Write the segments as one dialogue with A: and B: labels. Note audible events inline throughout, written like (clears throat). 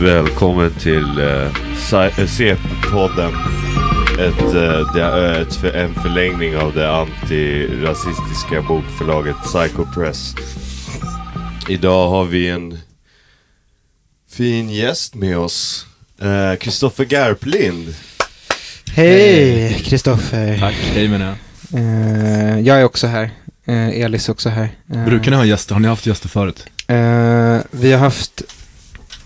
A: Välkommen till eh, Sci- eh, CP-podden. Ett, eh, det är ett, för- en förlängning av det antirasistiska bokförlaget Psycho Press. Idag har vi en fin gäst med oss. Kristoffer Garplind.
B: Hej Kristoffer!
C: Tack, hej menar jag.
B: Eh, jag är också här. Eh, Elis är också här. Eh,
C: Brukar ni ha gäster? Har ni haft gäster förut?
B: eh, vi har haft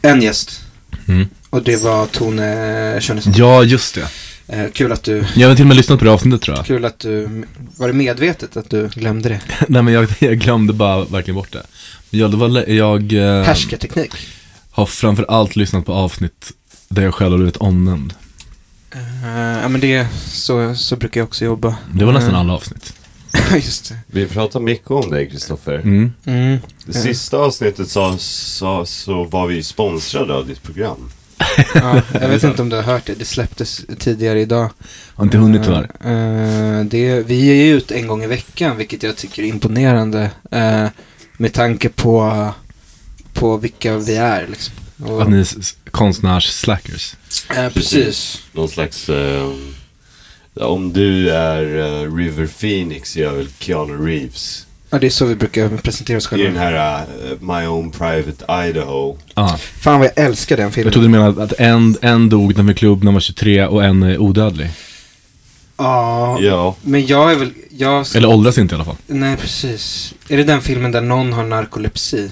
B: en gäst.
C: Mm.
B: Och det var Tone Schönnesson.
C: Ja, just det.
B: Eh, kul att du,
C: Jag har till och med lyssnat på det avsnittet tror jag.
B: kul att du, var det medvetet att du glömde det?
C: (laughs) Nej men jag, jag glömde bara verkligen bort det. Ja, det var, lä- jag eh,
B: Härskarteknik.
C: har framförallt lyssnat på avsnitt där jag själv har blivit omnämnd.
B: Eh, ja men det, så, så brukar jag också jobba.
C: Det var nästan
B: Eh,
C: alla avsnitt.
B: (laughs) Just det.
A: Vi pratar mycket om dig Kristoffer.
C: Mm.
B: Mm.
A: Det sista avsnittet så, så, så var vi sponsrade av ditt program.
B: Ja, jag
C: (laughs)
B: vet inte om du har hört det, det släpptes tidigare idag.
C: Har inte hunnit tyvärr.
B: Eh, eh, det, vi är ju ut en gång i veckan, vilket jag tycker är imponerande. eh, med tanke på, på vilka vi är. Liksom. Och,
C: Att ni är s- s- konstnärs-slackers.
B: eh, precis.
A: Någon slags... Eh, om du är eh, River Phoenix jag är väl Keanu Reeves.
B: Ja, det är så vi brukar presentera oss
A: I den
B: själva.
A: här eh, My Own Private Idaho.
C: Ah.
B: Fan vad jag älskar den
C: Jag
B: filmen.
C: trodde du menade att en, en dog när han var 23 när han var 23 och en är odödlig.
B: Ja,
A: Ja.
B: men jag är väl... Jag,
C: Eller åldras inte i alla fall.
B: nej, precis. Är det den filmen där någon har narkolepsi?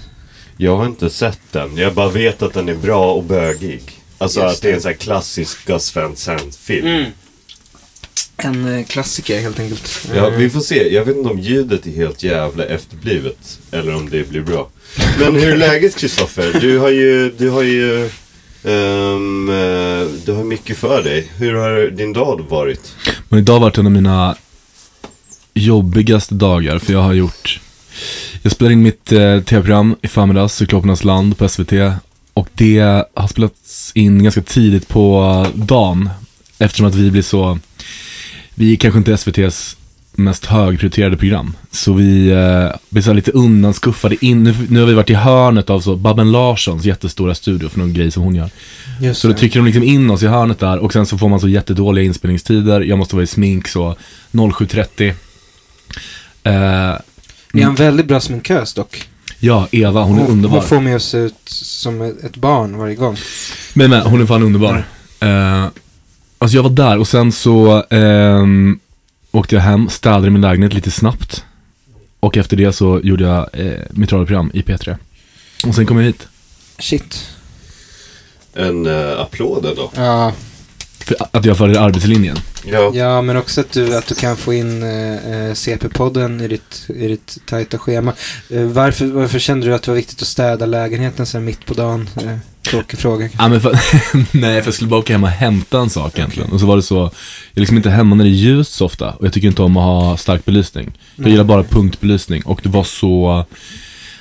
A: Jag har inte sett den. Jag bara vet att den är bra och bögig. Alltså
B: Just
A: att det är
B: det. Mm.
A: en sån här klassisk Gus Van Sant-film.
B: En eh, klassiker helt enkelt.
A: Ja,
B: Eh,
A: vi får se. Jag vet inte om ljudet är helt jävla efterblivet. Eller om det blir bra. Men hur är läget Kristoffer? Du har ju, du har ju, ehm, eh, du har mycket för dig. Hur har din dag varit?
C: Men idag har varit en av mina jobbigaste dagar för jag har gjort Jag spelade in mitt eh, tv-program i förmiddags, Cyklopernas land på SVT Och det har spelats in ganska tidigt på dagen Eftersom att vi blir så Vi är kanske inte SVTs mest högprioriterade program Så vi eh, blir så här lite undanskuffade in nu, nu har vi varit i hörnet av så Babben Larssons jättestora studio för någon grej som hon gör
B: Just
C: så då
B: det.
C: trycker de liksom in oss i hörnet där och sen så får man så jättedåliga inspelningstider. Jag måste vara i smink så 07.30. Eh,
B: Vi har en väldigt bra sminkös dock.
C: ja, Eva, hon är
B: hon
C: underbar.
B: får mig att se ut som ett barn varje gång.
C: Men, men hon är fan underbar. Eh, alltså jag var där och sen så ehm, åkte jag hem, städade min lägenhet lite snabbt. Och efter det så gjorde jag eh, mitt radioprogram i P3. Och sen kom jag hit.
B: Shit.
A: En uh, applåd ändå.
B: Ja,
C: För att jag följde arbetslinjen.
A: Ja.
B: ja men också att du, att du kan få in eh, eh, CP-podden i ditt, i ditt tajta schema. Eh, varför, varför kände du att det var viktigt att städa lägenheten sen mitt på dagen? Eh, tråkig fråga.
C: Ja, men för, (laughs) nej, för jag skulle bara åka hem och hämta en sak egentligen. Och så var det så, jag är liksom inte hemma när det är ljust så ofta. Och jag tycker inte om att ha stark belysning. Jag
B: Nej.
C: gillar bara punktbelysning. Och det var så,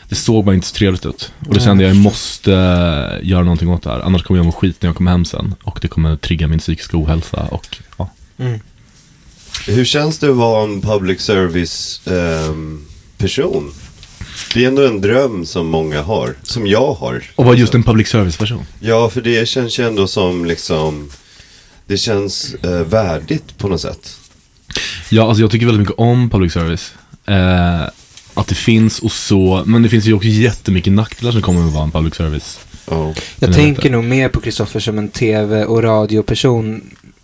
C: det såg bara inte så trevligt ut. Och då
B: Nej,
C: kände jag,
B: jag
C: jag måste göra någonting åt det här. Annars kommer jag må skit när jag kommer hem sen. Och det kommer trigga min psykiska ohälsa och, ja.
B: Mm.
A: Hur känns det att vara en public service ehm, person? Det är ändå en dröm som många har. Som jag har.
C: Och var just en public service-person.
A: Ja, för det känns ju ändå som liksom, det känns eh, värdigt på något sätt.
C: Ja, alltså jag tycker väldigt mycket om public service. Eh, att det finns och så, men det finns ju också jättemycket nackdelar som kommer med att vara en public service.
A: Ja.
B: Jag
C: Men jag vet
B: tänker nog mer på Kristoffer som en tv och radioperson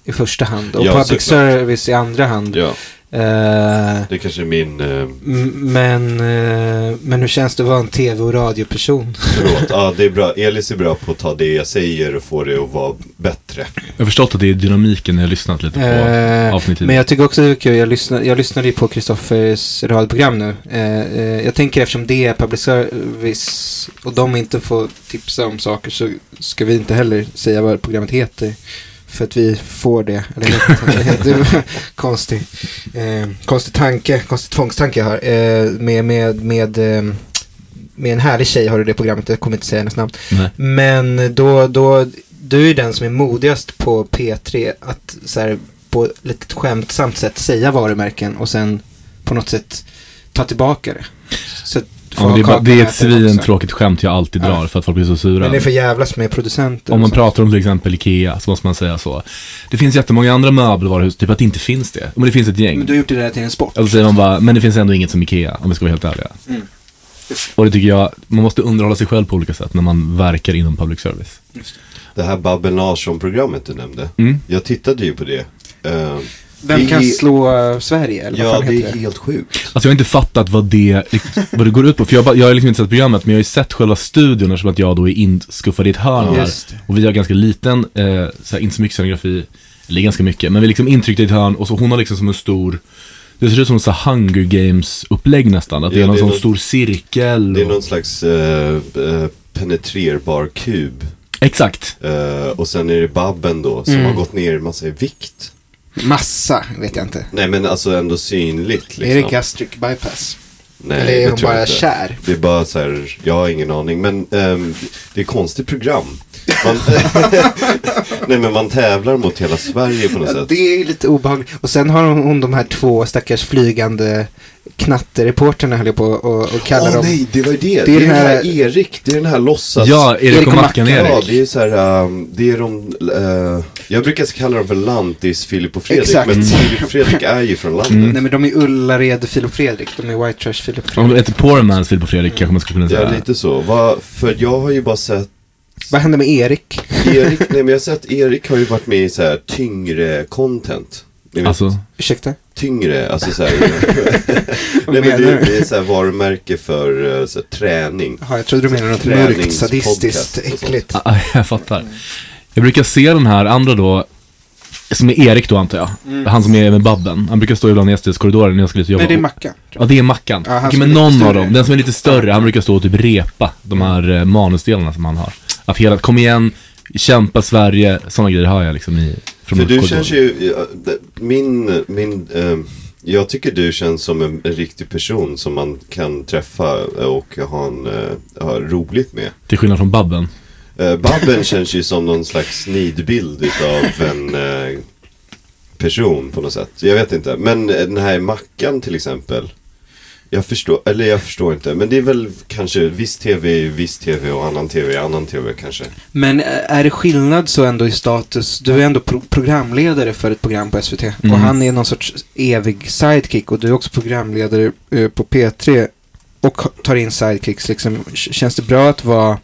B: i första hand. Och
A: Ja,
B: public
A: såklart.
B: service i andra hand.
A: ja,
B: Eh,
A: det kanske är min eh,
B: m- men, eh, men hur känns det att vara en tv och radioperson?
A: Förlåt, ja det är bra. Elis är bra på att ta det jag säger och få det att vara bättre.
C: Jag har förstått att det är dynamiken när jag har lyssnat lite på
B: Eh,
C: avsnitt
B: Men jag tycker också det är kul, jag, lyssnar, jag lyssnade ju på Kristoffers radioprogram nu. Eh, eh, jag tänker eftersom det är public service och de inte får tipsa om saker så ska vi inte heller säga vad programmet heter. För att vi får det. Eller, något. det var (laughs) konstig, eh, konstig tanke, konstig tvångstanke jag har. Eh, med, med, med, eh, med en härlig tjej har du det programmet, jag kommer inte säga hennes namn.
C: Nej.
B: Men då, då, du är den som är modigast på P3 att så här, på lite skämtsamt sätt säga varumärken och sen på något sätt ta tillbaka det. Så att
C: Ja, men det, är bara,
B: kakan
C: det är
B: äter
C: ett
B: också.
C: svintråkigt skämt jag alltid
B: Ja.
C: drar för att folk blir så sura.
B: Men det är för jävlas med producenter. alltså.
C: Om man
B: och sånt.
C: pratar om till exempel Ikea så måste man säga så. Det finns jättemånga andra möbelvaruhus, typ att det inte finns det. Men det finns ett gäng.
B: Men du har gjort det där till en sport.
C: Eller så säger man bara, men det finns ändå inget som Ikea, om vi ska vara helt ärliga.
B: Mm.
C: Och det tycker jag, man måste underhålla sig själv på olika sätt när man verkar inom public service.
A: Det här Babben Larsson-programmet du nämnde.
C: Mm.
A: Jag tittade ju på det. Eh,
B: Vem
A: det
B: kan
A: är-
B: slå eh, Sverige? Eller vad
A: Ja,
B: fan
A: det
B: heter
A: är helt sjukt.
C: Alltså jag har inte fattat vad det, vad det går ut på. För jag, har bara- jag har liksom inte sett programmet, men jag har ju sett själva studion eftersom att jag då är inskuffad i ett hörn
B: Ja,
C: här.
B: just det.
C: Och vi har ganska liten, eh, så här, inte så mycket scenografi, eller ganska mycket, men vi är liksom intryckta i ett hörn och så hon har liksom som en stor det ser ut som en sån här Hunger Games-upplägg nästan, att det
A: Ja,
C: är någon
A: det är
C: sån
A: någon-
C: stor cirkel.
A: Det är
C: och-
A: någon slags eh, eh, penetrerbar kub.
C: Exakt.
A: Eh, och sen är det Babben då som
B: Mm.
A: har gått ner massa i vikt.
B: Massa, vet jag inte.
A: Nej men alltså ändå synligt liksom.
B: Är det gastric bypass?
A: Nej,
B: eller är
A: det
B: hon
A: tror jag
B: bara
A: inte.
B: kär?
A: Det är bara så här, jag har ingen aning. Men ehm, det är ett konstigt program. Man, (laughs) nej men man tävlar mot hela Sverige på något
B: Ja,
A: sätt.
B: det är ju lite obehagligt. Och sen har hon, hon de här två stackars flygande knattereporterna höll jag på och, och kalla
A: Åh
B: dem.
A: nej, det var ju det. Det är, den här... Erik, det är den här låtsas...
C: Ja, Erik
B: Erik
C: och
B: och
C: Mackan
B: Mackan,
A: Ja,
C: Erik.
A: det är så här, ehm, det är de, eh, jag brukar kalla dem för lantis Filip och Fredrik.
B: Exakt.
A: Men Filip och Fredrik är ju från landet.
B: Mm. Nej men de är Ullared, Filip Fredrik. De är White Trash, Filip
C: Om det
B: Fredrik.
C: heter Poor Man's Filip och Fredrik kanske man skulle kunna
A: Ja,
C: säga.
A: lite så. Va, för jag har ju bara sett
B: Vad hände med Erik?
A: Erik, nej men jag har sett Erik har ju varit med i så här tyngre content. Ni vet,
C: Alltså,
B: Ursäkta?
A: tyngre, alltså
B: (laughs)
A: så här. nej men det,
B: menar du?
A: det är så här varumärke för eh, så här, träning.
B: Jaha, jag trodde du menade något
A: Tränings-
B: mörkt, sadistiskt,
A: podcast och sånt.
C: (laughs)
B: äckligt.
C: ah, jag fattar. Jag brukar se den här andra då, som är Erik då antar jag. Han som är med Babben. Han brukar stå ibland i SDs korridoren när jag skulle till jobbet.
B: Mm. Nej, det är Mackan. tror
C: Ja, det är Mackan.
B: Ja, han
C: Okej,
B: som är
C: men
B: lite
C: någon av
B: större.
C: dem. Den som är lite större, han brukar stå och typ repa de här eh, manusdelarna som han har. Att hela, kom igen, kämpa Sverige, sådana grejer har jag liksom i, från
A: För du
C: korridoren.
A: känns ju, ja, d- min, min, ehm, jag tycker du känns som en, en riktig person som man kan träffa eh, och ha, en, eh, ha roligt med.
C: Till skillnad från Babben.
A: Eh, Babben (laughs) känns ju som någon slags nidbild utav en eh, person på något sätt. Jag vet inte. Men eh, den här Mackan till exempel. Jag förstår, eller jag förstår inte. Men det är väl kanske viss tv, är viss tv och annan tv, är annan tv kanske.
B: Men eh, är det skillnad så ändå i status? Du är ändå pro programledare för ett program på SVT.
C: Mm.
B: Och han är någon sorts evig sidekick. Och du är också programledare eh, på P3. Och ha- tar in sidekicks liksom. K- Känns det bra att vara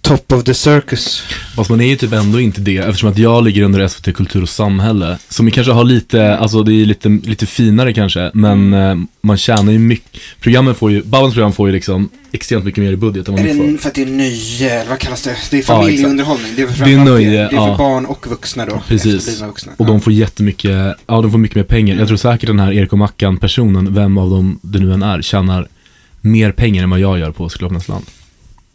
B: top of the circus?
C: Fast man är ju typ ändå inte det eftersom att jag ligger under SVT Kultur och Samhälle. Som ju kanske har lite, alltså det är lite, lite finare kanske, men eh, man tjänar ju mycket. Programmen får ju, Babbans program får ju liksom extremt mycket mer i budget än vad man får.
B: för att det är nöje? Eller vad kallas det? Det är
C: exakt.
B: familjeunderhållning. Det är,
C: Det är nöje, ja.
B: barn och vuxna då.
C: Precis.
B: efterblivna vuxna.
C: Och de får jättemycket, ja de får mycket mer pengar. Jag tror säkert den här Erik och Mackan-personen, vem av dem det nu än är, tjänar mer pengar än vad jag gör på Sklaparnas land.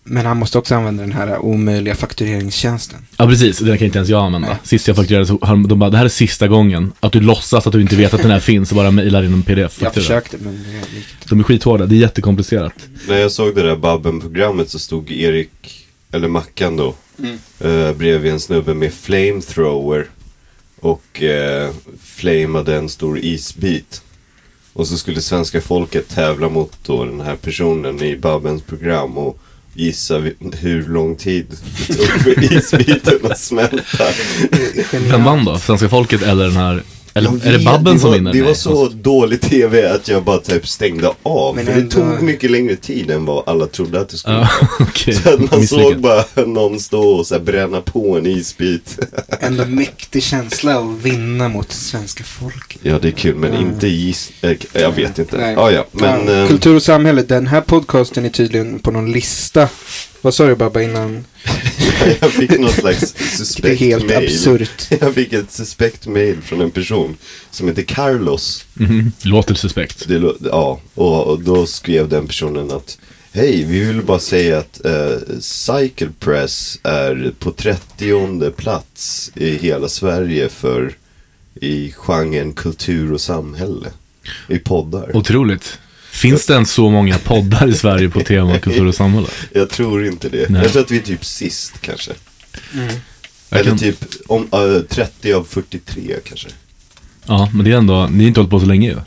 B: Men han måste också använda den här omöjliga faktureringstjänsten.
C: Ja precis, den kan inte ens jag använda.
B: Nej.
C: Sist jag fakturerade så har de bara, det här är sista gången. Att du låtsas att du inte vet att den här (laughs) finns och bara mejlar in en
B: Jag
C: pdf-faktura.
B: försökte men det gick inte.
C: De är skithårda, det är jättekomplicerat.
A: När jag såg det där Babben-programmet så stod Erik, eller Mackan då,
B: Mm.
A: eh, bredvid en snubbe med flamethrower och eh, flamade en stor isbit. Och så skulle svenska folket tävla mot då den här personen i Babbens program och gissa vi- hur lång tid det tog för
B: (laughs)
A: isbiten att smälta.
C: Vem vann då? Svenska folket eller den här, eller
A: Jag
C: är det
A: vet,
C: Babben
A: det
C: som
A: var-
C: vinner?
A: Det var
C: Nej,
A: så dålig tv att jag bara typ stängde av.
B: Men
A: för det
B: ändå-
A: tog mycket längre tid än vad alla trodde att det skulle
C: Ja,
A: (laughs)
C: (laughs) okej.
A: Så att man såg
C: Misslyckat.
A: bara någon stå och så här bränna på en isbit.
B: Ändå mäktig känsla att vinna mot svenska folket.
A: Ja, det är kul, men
B: Ja.
A: inte giss... eh, Jag vet inte.
B: Mm. Nej.
A: Ja, ja, men...
B: Ja,
A: eh,
B: Kultur och samhälle, den här podcasten är tydligen på någon lista. Vad sa du Babba innan?
A: (laughs) jag fick någon slags
B: (laughs) Det är
A: suspekt
B: helt
A: mail.
B: absurt.
A: (laughs) Jag fick ett suspekt mail från en person som heter Carlos.
C: Mhm. Låter suspekt.
A: Det, lå- ja, och, och då skrev den personen att Hej, vi vill bara säga att eh, Cycle Press är på 30 plats i hela Sverige för i genren kultur och samhälle. I poddar.
C: Otroligt. Finns det ens så många poddar i Sverige på tema kultur och samhälle?
A: Jag tror inte det.
C: Nej.
A: Jag tror att vi är typ sist kanske.
B: Mm.
C: Jag
A: Eller
C: kan-
A: typ om, eh, 30 av 43 kanske.
C: Ja, men det är ändå, ni har inte hållit på så länge ju.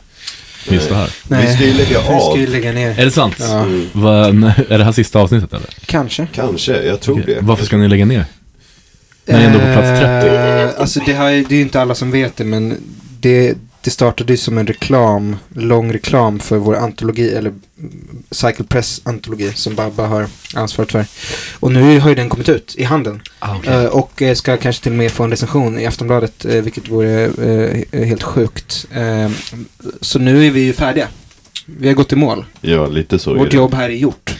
C: just det här.
B: Nej,
A: Vi ska ju lägga
B: vi ska
A: av.
B: ju lägga ner.
C: Är det sant?
B: Ja,
A: Mm.
C: Va, nej, (laughs) är det här sista avsnittet eller?
B: kanske.
A: Kanske, jag tror
C: Okej.
A: det.
C: Varför ska ni lägga ner? Men ändå på plats 30.
B: Eh, alltså det, här, är- det är ju inte alla som vet det, men det, det startade ju som en reklam, lång reklam för vår antologi, eller mm, Cycle Press antologi, som Babba har ansvaret för. Och nu har ju den kommit ut i handen.
C: Ah,
B: Eh, och eh, ska kanske till och med få en recension i Aftonbladet, eh, vilket vore eh, helt sjukt. Eh, så nu är vi ju färdiga. Vi har gått i mål.
A: Ja, lite så är
B: Vårt
A: det.
B: jobb här är gjort.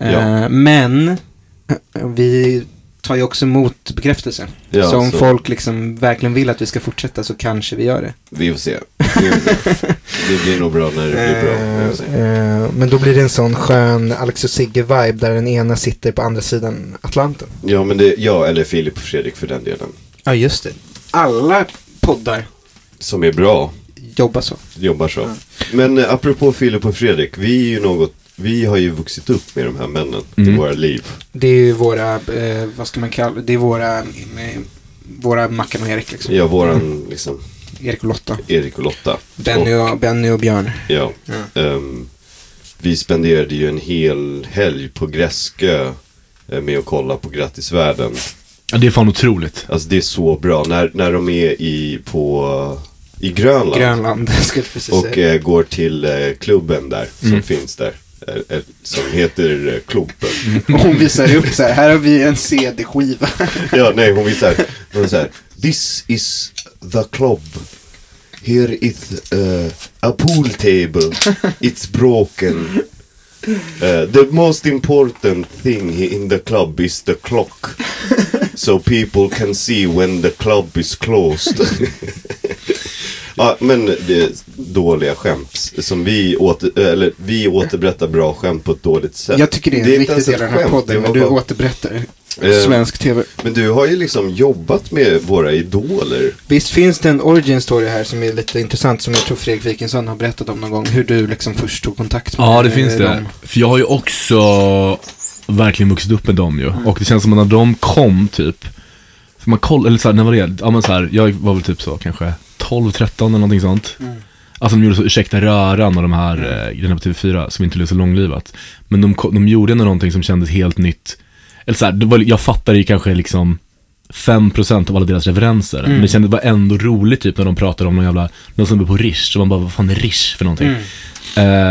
B: Eh,
A: Ja.
B: Men eh, vi tar ju också emot bekräftelse.
A: Ja,
B: så om
A: så-
B: folk liksom verkligen vill att vi ska fortsätta så kanske vi gör det.
A: Vi får se. Vi får se. Det blir nog bra när det blir bra. Vi får se.
B: Eh, men då blir det en sån skön Alex och Sigge-vibe där den ena sitter på andra sidan Atlanten.
A: Ja, men det, ja, eller Filip och Fredrik för den delen.
B: Ja, just det. Alla poddar
A: Som är bra,
B: jobbar så.
A: jobbar så. Men eh, apropå Filip och Fredrik, vi är ju något, vi har ju vuxit upp med de här männen i
C: Mm.
A: våra liv.
B: Det är ju våra, eh, vad ska man kalla det, är våra, eh, våra Mackan och Erik liksom.
A: Ja, våran liksom,
B: Erik och Lotta.
A: Erik och Lotta.
B: Benny
A: och,
B: och, Benny och Björn.
A: ja,
B: Ja.
A: ehm, Vi spenderade ju en hel helg på Gräskö eh, med att kolla på Grattisvärlden.
C: Ja, det är fan otroligt.
A: Alltså det är så bra. När, när de är i, på, i Grönland.
B: Grönland, (laughs) skulle jag precis
A: Och
B: säga.
A: eh, går till eh, klubben där, som
C: Mm.
A: finns där. Eh, eh, som heter eh, Klubben.
B: Och hon visar upp så här, här har vi en CD-skiva.
A: ja, nej, hon visar. Hon säger This is the club. Here is eh, a pool table. It's broken. Eh, the most important thing in the club is the clock. So people can see when the club is closed. (laughs) ja, men det är dåliga skämt. Som vi, åter, eller, vi återberättar bra skämt på ett dåligt sätt.
B: Jag tycker det är en
A: inte
B: viktig
A: ens ett
B: del av den här
A: skämt, det
B: podden när
A: var
B: du
A: bara-
B: återberättar
A: Eh,
B: svensk tv.
A: men du har ju liksom jobbat med våra idoler.
B: Visst finns det en origin story här som är lite intressant som jag tror Fredrik Wikingsson har berättat om någon gång. Hur du liksom först tog kontakt med
C: Ja, det
B: eh,
C: finns det.
B: dem.
C: För jag har ju också verkligen vuxit upp med dem
B: Mm.
C: ju. Och det känns som att när de kom typ, för man koll, eller såhär, när var det? Ja men såhär, jag var väl typ så kanske 12, 13 eller någonting sånt.
B: Mm.
C: Alltså de gjorde så, ursäkta röran och de här mm. grejerna på TV4 som inte blev så långlivat. Men de, ko- de gjorde ändå någonting som kändes helt nytt. Eller såhär, det var, jag fattade ju kanske liksom 5% av alla deras referenser.
B: Mm.
C: Men det kändes bara ändå roligt typ när de pratade om någon jävla, någon som på Rish. Så man bara, vad fan är Rish för någonting?
B: Mm.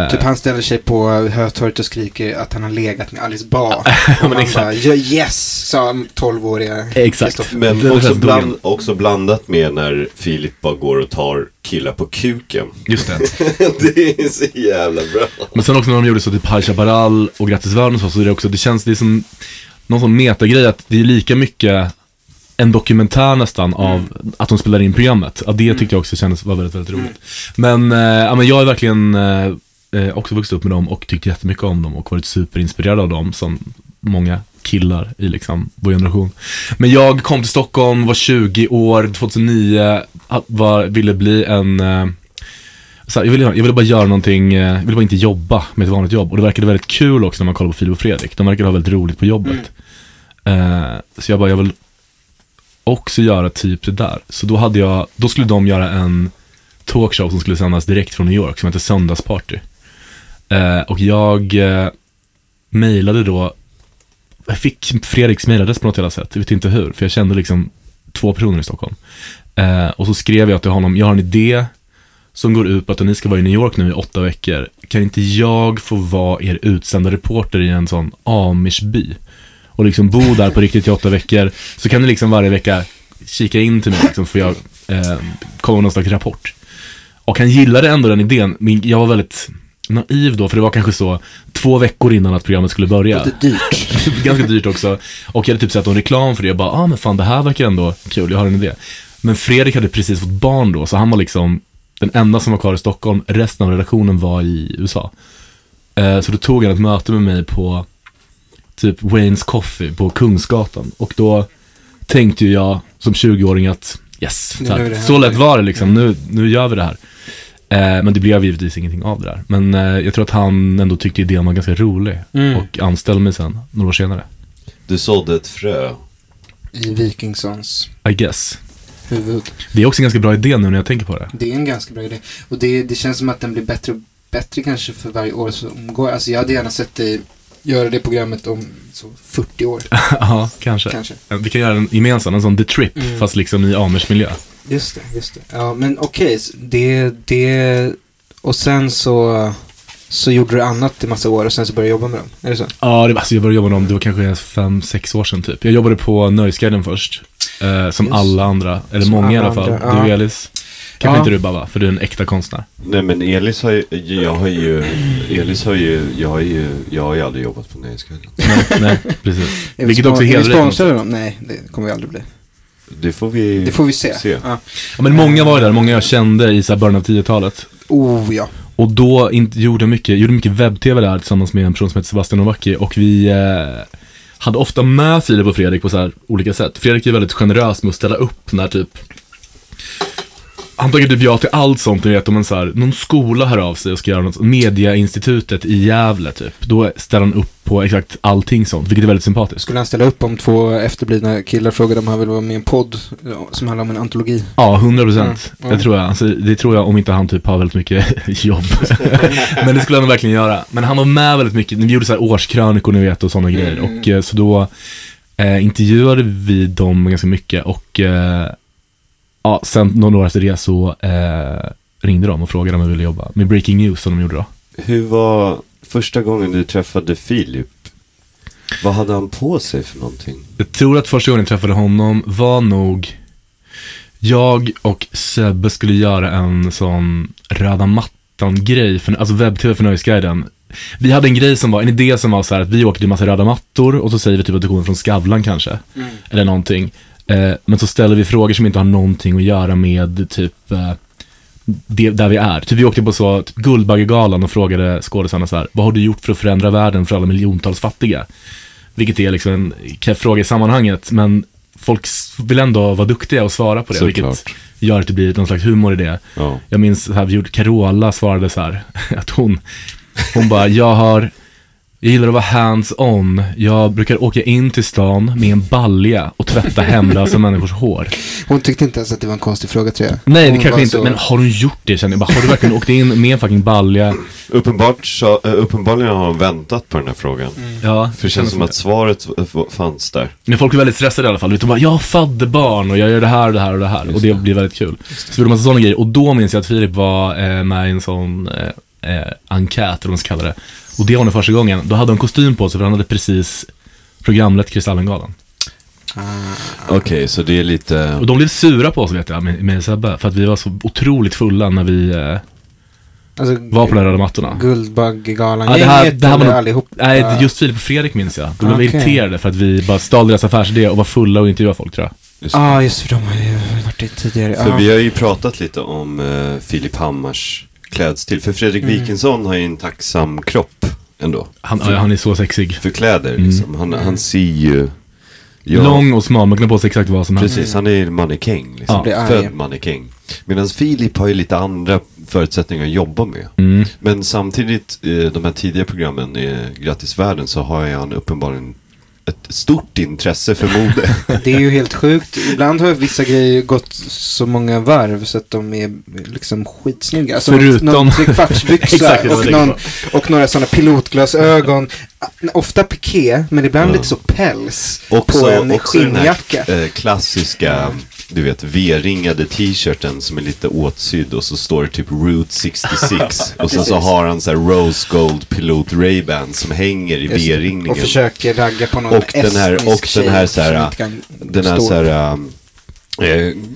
C: Eh,
B: Typ han ställer sig på Hötorget och skriker att han har legat med Alice
C: (laughs)
B: Bah.
C: men
B: och man
C: exakt.
B: bara, "Ja, yes, sa 12-åriga
C: Exakt.
B: Kristoffer.
C: Det
A: Men
C: var
A: också,
C: så här dogen.
A: bland, också blandat med när Filip bara går och tar killar på kuken. (laughs)
C: Just det.
A: det är så jävla bra.
C: Men sen också när de gjorde så typ High Chaparral och Grattis Världen och så, så är det också, det känns, det är som någon sån metagrej att det är lika mycket en dokumentär nästan av att de spelar in programmet. Ja, det tyckte jag också kändes var väldigt, väldigt roligt. Men, eh, ja, men jag är verkligen eh, eh, också vuxit upp med dem och tyckte jättemycket om dem och varit superinspirerad av dem som många killar i liksom vår generation. Men jag kom till Stockholm, var 20 år, 2009, ha- var, ville bli en eh, så här, jag, ville, jag ville bara göra någonting, eh, jag ville bara inte jobba med ett vanligt jobb. Och det verkade väldigt kul också när man kollar på Filip och Fredrik. De verkade ha väldigt roligt på jobbet. Eh, så jag bara, jag vill också göra typ det där. Så då hade jag, då skulle de göra en talkshow som skulle sändas direkt från New York som hette Söndagsparty. Eh, och jag eh, mejlade då, jag fick Fredriks mejladress på något jävla sätt, jag vet inte hur, för jag kände liksom två personer i Stockholm. Eh, och så skrev jag till honom, jag har en idé, som går ut på att ni ska vara i New York nu i åtta veckor. Kan inte jag få vara er utsända reporter i en sån amishby? Och liksom bo där på riktigt i åtta veckor. Så kan ni liksom varje vecka kika in till mig liksom, för jag eh, kommer någon slags rapport. Och han gillade ändå den idén. Men jag var väldigt naiv då, för det var kanske så två veckor innan att programmet skulle börja.
B: Lite dyrt.
C: (laughs) Ganska dyrt också. Och jag hade typ sett någon reklam för det. Jag bara, ah men fan det här verkar ändå kul, jag har en idé. Men Fredrik hade precis fått barn då, så han var liksom den enda som var kvar i Stockholm. Resten av redaktionen var i USA. Eh, så då tog han ett möte med mig på typ Wayne's Coffee på Kungsgatan. Och då tänkte ju jag som 20-åring att yes,
B: Nu
C: så,
B: är
C: här,
B: det här.
C: så lätt var det liksom. Nu, nu gör vi det här. Eh, men det blev givetvis ingenting av det där. Men eh, jag tror att han ändå tyckte idén var ganska rolig
B: Mm.
C: och anställde mig sen, några år senare.
A: Du sådde ett frö.
B: I Vikingssons
C: I guess.
B: huvud.
C: Det är också en ganska bra idé nu när jag tänker på det.
B: Det är en ganska bra idé. Och det, det känns som att den blir bättre och bättre kanske för varje år som går. Alltså jag hade gärna sett dig göra det programmet om så 40
C: (laughs)
B: år
C: (laughs) Alltså. ja, kanske.
B: kanske.
C: Eh, Vi kan göra en gemensam, en sån The Trip,
B: Mm.
C: fast liksom i Amersmiljö.
B: Just det, just det. Ja, men okej, s- det, det... Och sen så, så gjorde du annat i massa år och sen så började jag jobba med dem. Är det så?
C: Ja, det var, alltså jag började jobba med dem, det var kanske fem, sex år sedan typ. Jag jobbade på Nöjesguiden först. Eh, som
B: Just.
C: alla andra, eller
B: Som
C: många i
B: alla
C: alla fall.
B: andra,
C: Du
B: ja.
C: Elis. Kanske
B: Ja.
C: inte du Baba, för du är en äkta konstnär.
A: Nej men Elis har ju, jag har ju, Elis har ju, jag har ju, jag har ju aldrig jobbat på Nöjesguiden.
C: (laughs) Nej, nej precis.
B: Är vi
C: Vilket
B: spon-
C: också är
B: är vi
C: helt rätt.
B: sponsrade av dem? Nej, det kommer vi aldrig bli.
A: Det får vi...
B: Det får vi se.
A: Se.
B: Ja.
C: Ja, men många var ju där, många jag kände i så här början av 10-talet.
B: Oh ja.
C: Och då in, gjorde jag mycket, gjorde mycket webb-tv där tillsammans med en person som heter Sebastian Novacki och vi eh, hade ofta med Filip och Fredrik på så här olika sätt. Fredrik är väldigt generös med att ställa upp när typ han tackar typ ja till allt sånt, ni vet om en så här, någon skola hör av sig och ska göra något, Mediainstitutet i Gävle typ. Då ställer han upp på exakt allting sånt, vilket är väldigt sympatiskt.
B: Skulle han ställa upp om två efterblivna killar frågade om han ville vara med i en podd ja, som handlar om en antologi?
C: Ja, 100
B: Mm,
C: procent.
B: mm.
C: Det tror jag. Alltså, det tror jag om inte han typ har väldigt mycket
B: (laughs)
C: (laughs) jobb. Men det skulle han verkligen göra. Men han var med väldigt mycket. Vi gjorde så här årskrönikor, ni vet, och sådana grejer.
B: Mm.
C: Och eh, så då eh, intervjuade vi dem ganska mycket och eh, ja, sen några år efter det så eh, ringde de och frågade om jag ville jobba med Breaking News som de gjorde då.
A: Hur var första gången du träffade Filip? Vad hade han på sig för någonting?
C: Jag tror att första gången jag träffade honom var nog jag och Sebbe skulle göra en sån röda mattan-grej, för, alltså webb-tv för Nöjesguiden. Vi hade en grej som var, en idé som var så här att vi åker till massa röda mattor och så säger vi typ att du kommer från Skavlan kanske, eller någonting. Eh, men så ställer vi frågor som inte har någonting att göra med typ eh, det, där vi är. Typ vi åkte på så, typ Guldbaggegalan och frågade skådisarna så här, vad har du gjort för att förändra världen för alla miljontals fattiga? Vilket är liksom en k- fråga i sammanhanget, men folk s- vill ändå vara duktiga och svara på det,
A: Såklart.
C: vilket gör att det blir någon slags humor i det.
A: Ja.
C: Jag minns så här, vi gjorde, Carola svarade så här, (laughs) att hon, hon bara, jag har, jag gillar att vara hands-on, jag brukar åka in till stan med en balja och
A: (laughs)
C: tvätta hemlösa människors hår.
B: Hon tyckte inte ens att det var en konstig fråga tror jag.
C: Nej, det
B: Hon var
C: kanske inte,
B: så-
C: men har hon gjort det känner jag bara, har du verkligen åkt in med en fucking balja?
A: Uppenbart så, eh, uppenbarligen har han väntat på den här frågan.
B: Mm.
C: Ja,
A: För det känns som att svaret eh, fanns där.
C: Men folk är väldigt stressade i alla fall. Vet, De bara, jag har fadderbarn och jag gör det här och det här och det här. och det, blir väldigt kul. Så vi gjorde massa sådana grejer. Och då minns jag att Filip var eh, med i en sån eh, eh, enkät, eller vad man ska kalla det. Och det var nog första gången. Då hade han kostym på sig, för han hade precis programlett Kristallengalan.
A: Okej, så det är lite...
C: Och de blev sura på oss vet jag, med, med Sebbe. För att vi var så otroligt fulla när vi eh,
B: Alltså,
C: var på de här röda mattorna.
B: Guldbaggegalan.
C: Ja, det här- det här var
B: eller
C: nog-
B: allihop.
C: Nej,
B: Ja.
C: just Filip och Fredrik minns jag. De blev
B: Okej.
C: irriterade för att vi bara stal deras affärsidé och var fulla och intervjuade folk tror jag.
B: Ja, ah, just för de har ju varit det tidigare.
A: För
B: Ja.
A: vi har ju pratat lite om eh, Filip Hammars klädstil. För Fredrik Wikingsson har ju en tacksam kropp ändå.
C: Han, ja, han är så sexig.
A: För kläder liksom. Han, han ser ju... Ja,
C: Lång och smal, man kan ha på sig exakt vad som helst.
A: Precis, han är ju mannekäng liksom.
C: Ja.
B: Blir arg.
A: Född mannekäng. Medan Filip har ju lite andra förutsättningar att jobba med.
C: Mm.
A: Men samtidigt, eh, de här tidiga programmen i Grattis Världen så har ju han uppenbarligen ett stort intresse för mode.
B: Det är ju helt sjukt. Ibland har vissa grejer gått så många varv så att de är liksom skitsnygga. Alltså
C: Förutom-
B: någon- någon
A: (laughs)
B: trekvartsbyxa
C: Exakt det jag
B: och,
C: tänker
B: någon, och några sådana pilotglasögon. Ofta piké, men ibland lite så päls på en skinnjacka.
A: den här eh, klassiska, du vet, V-ringade t-shirten som är lite åtsydd och så står det typ Route
B: (laughs)
A: 66. och sen så
B: Precis.
A: har han så här Rose Gold Pilot Ray-Ban som hänger i V-ringningen.
B: Och försöker ragga på någon
A: och den här, och
B: estnisk
A: den här
B: tjej
A: så
B: som
A: här,
B: inte kan
A: den här
B: stå
A: så här, um,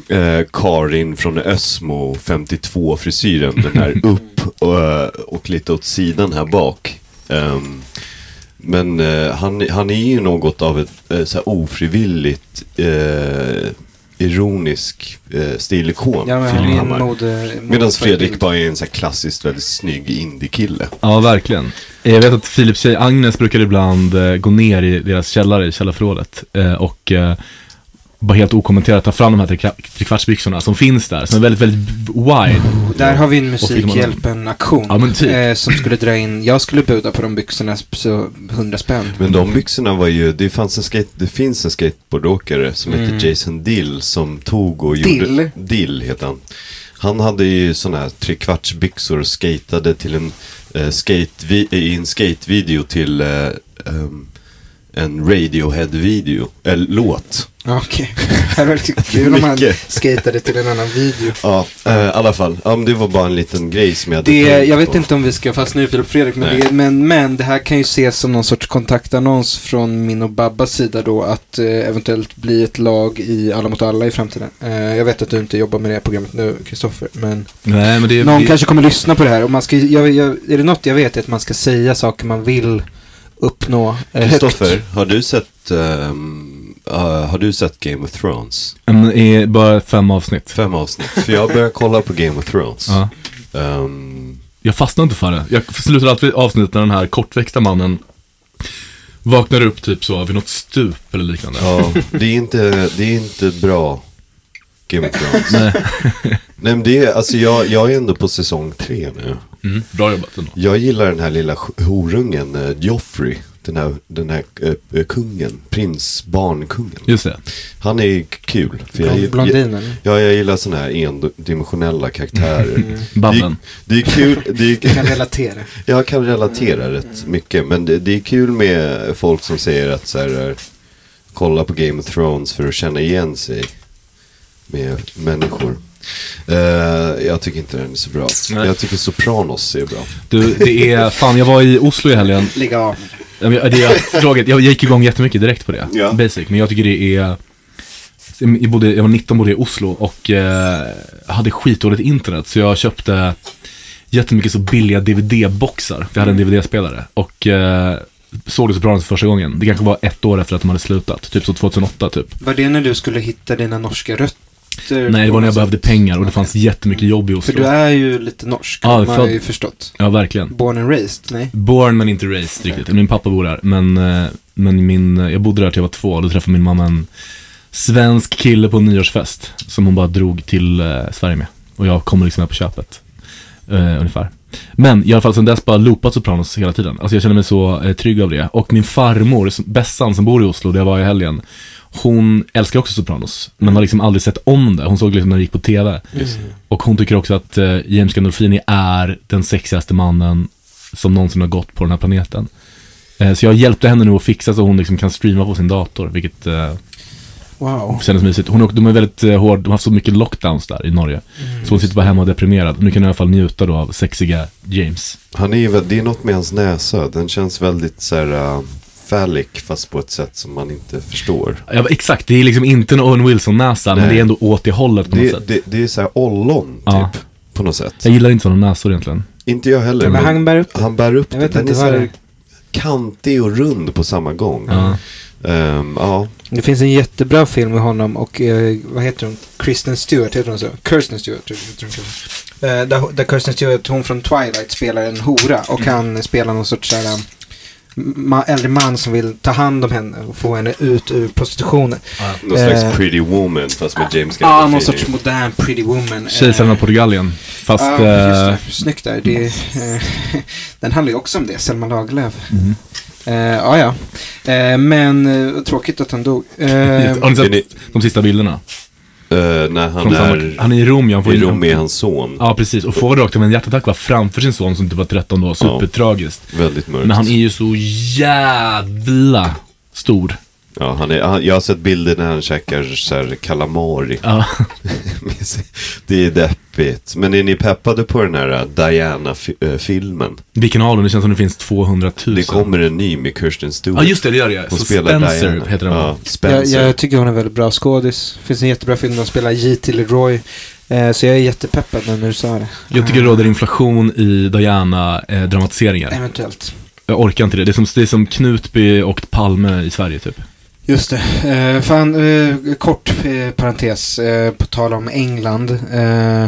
A: eh, eh, Karin från Ösmo 52 frisyren, den
B: (laughs)
A: här upp och, eh, och lite åt sidan här bak. Ehm, men eh, han, han är ju något av ett eh, så här ofrivilligt eh, ironisk eh, stilikon,
B: Ja, men han
A: Filip
B: är en
A: Hammar.
B: mode...
A: Medan Fredrik
B: modeförebild.
A: bara är en så här klassiskt väldigt snygg indiekille.
C: Ja, verkligen. Jag vet att Filips tjej Agnes brukar ibland eh, gå ner i deras källare, i källarförrådet, eh, och eh, bara helt okommenterat ta fram de här trekva- trekvartsbyxorna som finns där, som är väldigt, väldigt b- wide.
B: Där har vi en
C: Och filmar dem.
B: Musikhjälpen-aktion.
C: Ja, men typ.
B: eh, som skulle dra in, jag skulle buda på de byxorna så 100 spänn.
A: Men de byxorna var ju, det, fanns en skate, det finns en skateboardåkare som
B: Mm.
A: heter Jason Dill som tog och
B: Dill?
A: gjorde... Dill? heter han. Han hade ju sådana här trekvartsbyxor och skatade till en, eh, skatevi- i en skatevideo till eh, ehm, en Radiohead-video, eller låt.
B: Ja, Okej. Det hade varit kul om man
A: Mycket.
B: skatade till en annan video.
A: Ja, eh, i alla fall. Ja, men det var bara en liten grej som jag hade
B: Det,
A: tänkt
B: jag vet
A: på.
B: inte om vi ska fastna i Filip Fredrik, men
A: Nej.
B: det, men, men det här kan ju ses som någon sorts kontaktannons från min och Babbas sida då, att eh, eventuellt bli ett lag i Alla mot alla i framtiden. Eh, jag vet att du inte jobbar med det här programmet nu, Kristoffer, men
C: Nej, men det är...
B: någon
C: det,
B: kanske kommer lyssna på det här. Och man ska, jag, jag, är det något jag vet är att man ska säga saker man vill uppnå eh, högt.
A: Kristoffer, har du sett, ehm, eh, har du sett Game of Thrones?
C: Mm, är bara fem avsnitt.
A: Fem avsnitt. För jag börjar kolla på Game of Thrones.
C: Ja.
A: Ehm,
C: Jag fastnar inte för det. Jag slutar alltid avsnittet när den här kortväxta mannen vaknar upp typ så vid något stup eller liknande.
A: ja, det är inte, det är inte bra. Game of Thrones.
C: Nej.
A: Nej men det är, alltså jag, jag är ändå på säsong tre nu.
C: Mm, bra jobbat ändå.
A: Jag gillar den här lilla sj- horungen, eh, Joffrey. Den här, den här eh, eh, kungen, prins, barnkungen.
C: Just det.
A: Han är ju kul. För jag,
B: Blond- Blondinen.
A: Ja, jag gillar sådana här endimensionella karaktärer.
C: Mm. Babben.
A: Det, det är kul, det är,
B: Kan relatera.
A: jag kan relatera rätt mycket. Men det, det är kul med folk som säger att så här, kolla på Game of Thrones för att känna igen sig med människor. Eh, jag tycker inte den är så bra.
C: Nej.
A: Jag tycker Sopranos är bra.
C: Du, det är, fan jag var i Oslo i helgen.
B: Ligga av.
C: Ja, men jag- Det jag, draget, jag gick igång jättemycket direkt på det.
A: Ja.
C: Basic. Men jag tycker det är... Jag, bodde, jag var 19 bodde i Oslo och eh, hade skitdåligt internet. Så jag köpte jättemycket så billiga DVD-boxar. Jag hade en
B: Mm.
C: DVD-spelare. Och eh, såg det så bra för första gången. Det kanske var ett år efter att de hade slutat. Typ så 2008 typ.
B: Var det när du skulle hitta dina norska rötter?
C: Nej, det var när jag
B: på något
C: behövde
B: sätt?
C: pengar och det fanns jättemycket jobb i
B: För du
C: Oslo.
B: är ju lite norsk,
C: Ja,
B: har man
C: född-
B: har ju förstått.
C: Ja, verkligen.
B: Born and raised, nej?
C: Born men inte raised riktigt. Min pappa bor där. Men, eh, men min, eh, jag bodde där till jag var två. Då träffade min mamma en svensk kille på en nyårsfest. Som hon bara drog till eh, Sverige med. Och jag kom liksom med på köpet. Eh, ungefär. Men i alla fall sen dess bara loopat Sopranos hela tiden. Alltså jag känner mig så eh, trygg av det. Och min farmor, som- Bessan som bor i Oslo, där jag var i helgen. Hon älskar också Sopranos, men har liksom aldrig sett om det. Hon såg liksom när det gick på TV. Och hon tycker också att eh, James Gandolfini är den sexigaste mannen som någonsin har gått på den här planeten. Eh, så jag hjälpte henne nu att fixa så hon liksom kan streama på sin dator, vilket eh,
B: Wow.
C: kändes mysigt. Hon, åkte- de är väldigt eh, hård, de har haft så mycket lockdowns där i Norge. Så hon sitter bara hemma och är deprimerad. Nu kan hon i alla fall njuta då av sexiga James.
A: Han är ju, väl- det är något med hans näsa. Den känns väldigt så här eh, phallic fast på ett sätt som man inte förstår.
C: Ja, exakt, det är liksom inte en Owen Wilson-näsa, men
A: Nej.
C: det är ändå åt det hållet på något
A: Det,
C: sätt.
A: det, det är så här ollon typ.
C: Ja.
A: På något sätt.
C: Jag gillar inte sådana näsor egentligen.
A: Inte jag heller.
B: Men
C: Mm.
B: han bär upp det.
A: Han bär upp
B: Jag
A: det.
B: vet
A: Den
B: inte
A: är så
B: vad
A: här
B: det är.
A: kantig och rund på samma gång.
C: Ja.
A: Ehm, ja.
B: Det finns en jättebra film med honom och, eh, vad heter hon? Kristen Stewart, heter hon så? Kirsten Stewart, heter hon kanske. eh, där, där Kirsten Stewart, hon från Twilight, spelar en hora och
C: Mm.
B: han spelar någon sorts såhär, eh, ma- äldre man som vill ta hand om henne och få henne ut ur prostitutionen.
A: Någon
B: Eh,
A: slags pretty woman fast med James
B: Ja,
A: Gandolfini.
B: någon sorts modern pretty woman.
C: Kejsaren av
B: Eh,
C: Portugalien, fast...
B: Ja,
C: eh,
B: just det. Snyggt där. Det, eh, (laughs) den handlar ju också om det, Selma Lagerlöf.
C: Mhm.
B: Eh, ja, ja. Eh, men eh, tråkigt att han dog. Eh,
C: (laughs) Har ni
A: Är ni-
C: sett de sista bilderna?
A: Eh, när han
C: Från samma,
A: är
C: han är i Rom, ja. Han får
A: i
C: in-
A: Rom med hans son.
C: Ja, precis. Och får rakt av en hjärtattack va? framför sin son som typ var 13 då. Supertragiskt.
A: Väldigt mörkt.
C: Men han är ju så jävla stor.
A: Ja, han är, han, jag har sett bilder när han käkar så här kalamari.
C: Ja. (laughs)
A: med sig. (laughs) det är deppigt. Men är ni peppade på den här eh, Diana-filmen?
C: Vilken av dem? Det känns som det finns 200 000.
A: Det kommer en ny med Kirsten Stewart.
C: Ja, just det. Det gör det. ja.
A: Hon
C: Så
A: spelar
C: Spencer
A: Diana.
C: heter den va?
A: Ja,
B: jag,
A: Spencer.
B: jag tycker hon är väldigt bra skådis. Finns en jättebra film där hon spelar J.T. LeRoy. Eh, så jag är jättepeppad när du sa det.
C: Jag tycker det råder inflation i Diana-dramatiseringar.
B: Eventuellt.
C: Jag orkar inte det. Det är, som, det är som Knutby och Palme i Sverige typ.
B: Just det. Eh, fan, eh, kort eh, parentes eh, på tal om England. Eh,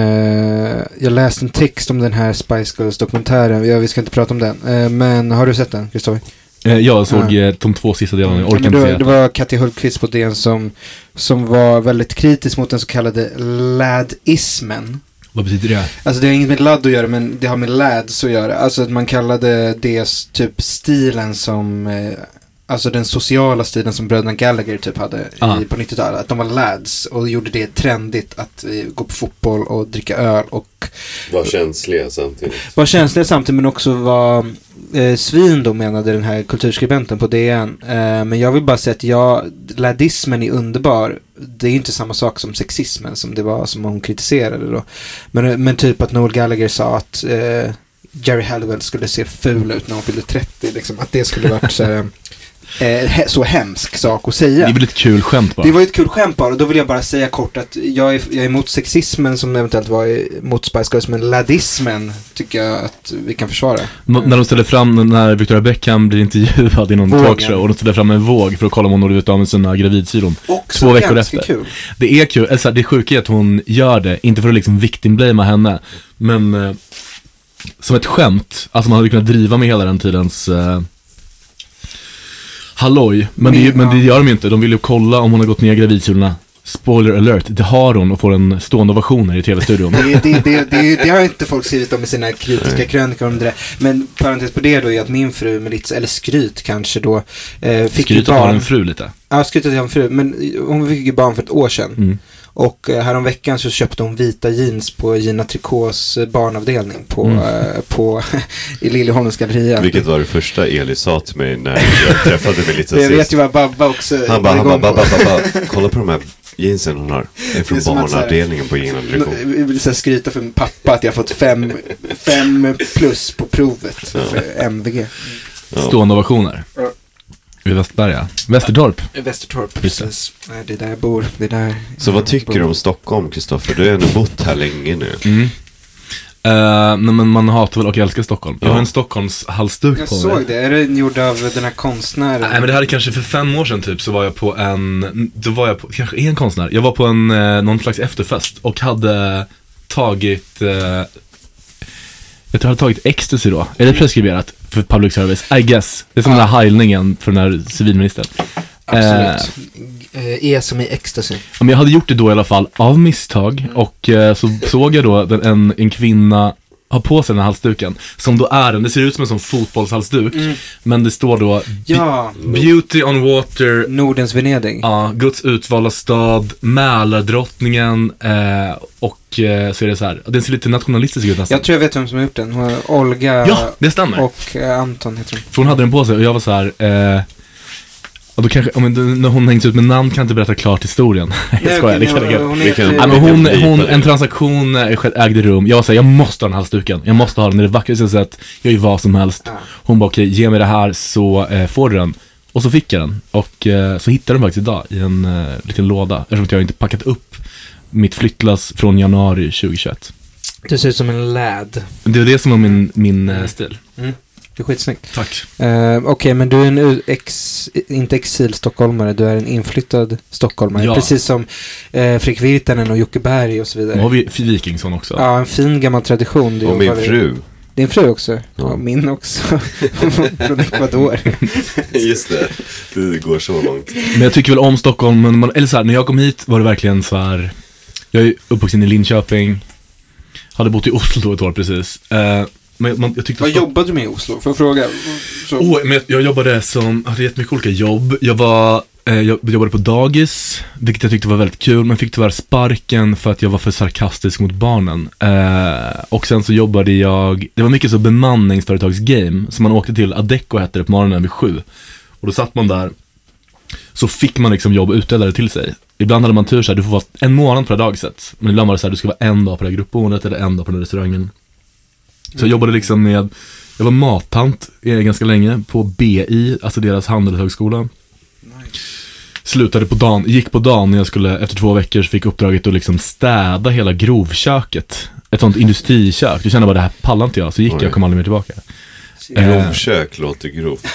B: eh, jag läste en text om den här Spice Girls dokumentären. Ja, vi ska inte prata om den. Eh, men har du sett den, Kristoffer?
C: Eh, jag såg
B: Ja.
C: eh, de två sista delarna, jag
B: Ja,
C: orkar
B: men
C: inte se
B: det, det
C: detta.
B: var Katti Hultqvist på DN som, som var väldigt kritisk mot den så kallade ladismen.
C: Vad betyder det?
B: Alltså det har inget med ladd att göra men det har med lads att göra. Alltså att man kallade det s- typ stilen som, eh, alltså den sociala stilen som bröderna Gallagher typ hade
C: Ah.
B: i, på 90-talet. Att de var lads och gjorde det trendigt att eh, gå på fotboll och dricka öl och
A: Var känsliga samtidigt.
B: var känsliga samtidigt men också var eh, svin då menade den här kulturskribenten på DN. Eh, men jag vill bara säga att jag, ladismen är underbar. Det är ju inte samma sak som sexismen som det var som hon kritiserade då. Men, men typ att Noel Gallagher sa att eh, Jerry Halliwell skulle se ful ut när hon fyllde 30. Liksom, att det skulle varit så, här, eh, he- så hemsk sak att
C: Det
B: säga.
C: är väl ett kul skämt bara?
B: Det var ju ett kul skämt bara, och då vill jag bara säga kort att jag är, jag är emot sexismen som eventuellt var i- mot Spice Girls, men ladismen tycker jag att vi kan försvara.
C: N- När de ställer fram, när Victoria Beckham blir intervjuad i någon
B: Vågen.
C: talkshow och de ställer fram en våg för att kolla om hon har blivit av med sina gravidkilon.
B: Också
C: Två veckor
B: ganska
C: efter.
B: kul.
C: Det är kul, eller så här, det sjuka är att hon gör det, inte för att liksom victimblama henne, men eh, som ett skämt. Alltså man hade kunnat driva med hela den tidens eh, halloj. Men, det, är ju- men det gör de ju inte, de vill ju kolla om hon har gått ner gravidkulorna. Spoiler alert, det har hon och får en stående ovation här i tv-studion.
B: Det, det, det, det, det har inte folk skrivit om i sina kritiska krönikor om det där. Men parentes på det då är att min fru Melitza, eller skryt kanske då, eh, fick ju
C: Skryt att hon har
B: barn.
C: en fru lite.
B: Ja, skryt att jag har en fru, men hon fick ju barn för ett år sedan.
C: Mm.
B: Och eh, häromveckan så köpte hon vita jeans på Gina Tricots eh, barnavdelning på,
C: Mm.
B: eh, på (laughs) i Liljeholmens galleria.
A: Vilket var det första Eli sa till mig när jag träffade mig
B: (laughs)
A: lite
B: För jag vet
A: sist.
B: ju vad Babba också
A: Han bara, han bara,
B: igång på.
A: bara, bara, bara, kolla på de här jeansen hon har. Det är
B: Det är
A: från
B: som att
A: barnavdelningen på Gina Dricon.
B: Jag vill så här skryta för min pappa att jag fått fem, fem plus på provet för MVG.
A: Ja.
C: Stående ovationer.
B: Ja.
C: Vid Västberga. Västertorp.
B: Västertorp,
C: Just det.
B: precis. Nej, Det är där jag bor. Det är där
A: Så vad tycker du
B: de?
A: om Stockholm, Kristoffer? Du har ändå bott här länge nu.
B: Mm.
C: Eh, nej men man hatar väl och älskar Stockholm. Jag
A: Ja.
C: har en Stockholmshalsduk
B: Jag
C: på mig.
B: såg det. Är den gjord av den här konstnären?
C: Nej men det här är kanske för fem år sedan typ så var jag på en, då var jag på, kanske är en konstnär, jag var på en, eh, någon slags efterfest och hade tagit, eh, jag tror jag hade tagit ecstasy då, är det preskriberat för public service? I guess. Det är som den här heilningen för den här civilministern.
B: Absolut. Eh, E som i ecstasy.
C: Ja, Men jag hade gjort det då i alla fall av misstag och eh, så såg jag då den, en, en kvinna ha på sig den här halsduken, som då är en, det ser ut som en sån fotbollshalsduk, men det står då
B: Ja,
C: Beauty on water
B: Nordens Venedig.
C: Ja, Guds utvalda stad, Mälardrottningen eh, och eh, så är det så här. Den ser lite nationalistisk ut nästan.
B: Jag tror jag vet vem som har gjort den. Hon är Olga
C: ja, det stämmer.
B: och eh, Anton heter hon.
C: För hon hade den på sig och jag var så här. Eh, och då kanske, ja, men, då- när hon hängts ut med namn kan jag inte berätta klart historien. (laughs) Nej, jag skojar, det kan jag inte.
B: hon
A: Vi kan-
C: Nej, men
B: heter...
A: Jag
C: hon,
A: kan
C: hon,
A: begripa det.
C: en transaktion eh, sked- ägde rum. Jag var såhär, jag måste ha den här halsduken. Jag måste ha den, det är det vackraste jag sett. Jag gör vad som helst.
B: Ja.
C: Hon bara, okej, ge mig det här så eh, får du den. Och så fick jag den. Och eh, så hittade jag den faktiskt idag i en eh, liten låda. Eftersom att jag inte packat upp mitt flyttlass från januari 2021.
B: Du ser ut som en läd.
C: Men Det är det som var min, min eh, stil.
B: Du är skitsnygg.
C: Tack.
B: Eh, Okej, men du är en u- ex, inte exilstockholmare, du är en inflyttad stockholmare.
C: Ja.
B: Precis som eh, Fredrik Virtanen och Jocke Berg och så
C: Nu
B: vidare.
C: har vi Wikingsson också.
B: Ja, en fin gammal tradition. Det
A: Och min
B: jobbar vi- (laughs)
A: fru.
B: Din fru också?
A: Ja.
B: Ja, min också. (laughs) Från Ecuador.
A: Just det. Det går så långt.
C: Men jag tycker väl om Stockholm, men man, eller så här, när jag kom hit var det verkligen så här. Jag är ju uppvuxen i Linköping, hade bott i Oslo ett år precis. Eh, men man, jag
B: (laughs)
C: tyckte
B: Vad
C: Stock-
B: jobbade du med i Oslo? Får jag fråga? Så,
C: Åh, men jag, jag jobbade som, hade jättemycket olika jobb. Jag var, eh, jag jobbade på dagis, vilket jag tyckte var väldigt kul, men fick tyvärr sparken för att jag var för sarkastisk mot barnen. Eh, och sen så jobbade jag, det var mycket så bemanningsföretagsgame, så man åkte till Adecco hette det på morgonen vid sju. Och då satt man där, så fick man liksom jobb utdelade till sig. Ibland hade man tur så här, du får vara en månad per dag sett. Men ibland var det så här, du ska vara en dag på det här gruppboendet eller en dag på den här restaurangen. Så jag jobbade liksom med, jag var mattant eh, ganska länge på BI, alltså deras handelshögskola. Slutade på dagen, gick på dagen när jag skulle, efter två veckor så fick jag uppdraget att liksom städa hela grovköket. Ett sånt industrikök. Du kände bara det här pallar inte jag, så gick
A: Oj.
C: jag och kom aldrig mer tillbaka.
A: eh. Grovkök låter grovt.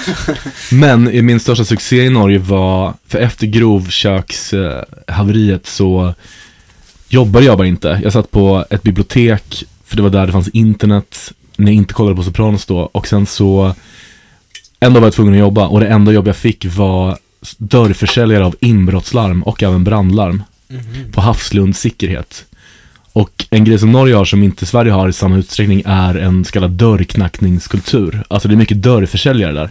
C: Men eh, min största succé i Norge var, för efter grovkökshaveriet så jobbade jag bara inte. Jag satt på ett bibliotek, för det var där det fanns internet, när jag inte kollade på Sopranos då. Och sen så En dag var jag tvungen att jobba och det enda jobb jag fick var s- dörrförsäljare av inbrottslarm och även brandlarm på Havslund säkerhet. Och en grej som Norge har som inte Sverige har i samma utsträckning är en så kallad dörrknackningskultur. Alltså det är mycket dörrförsäljare där.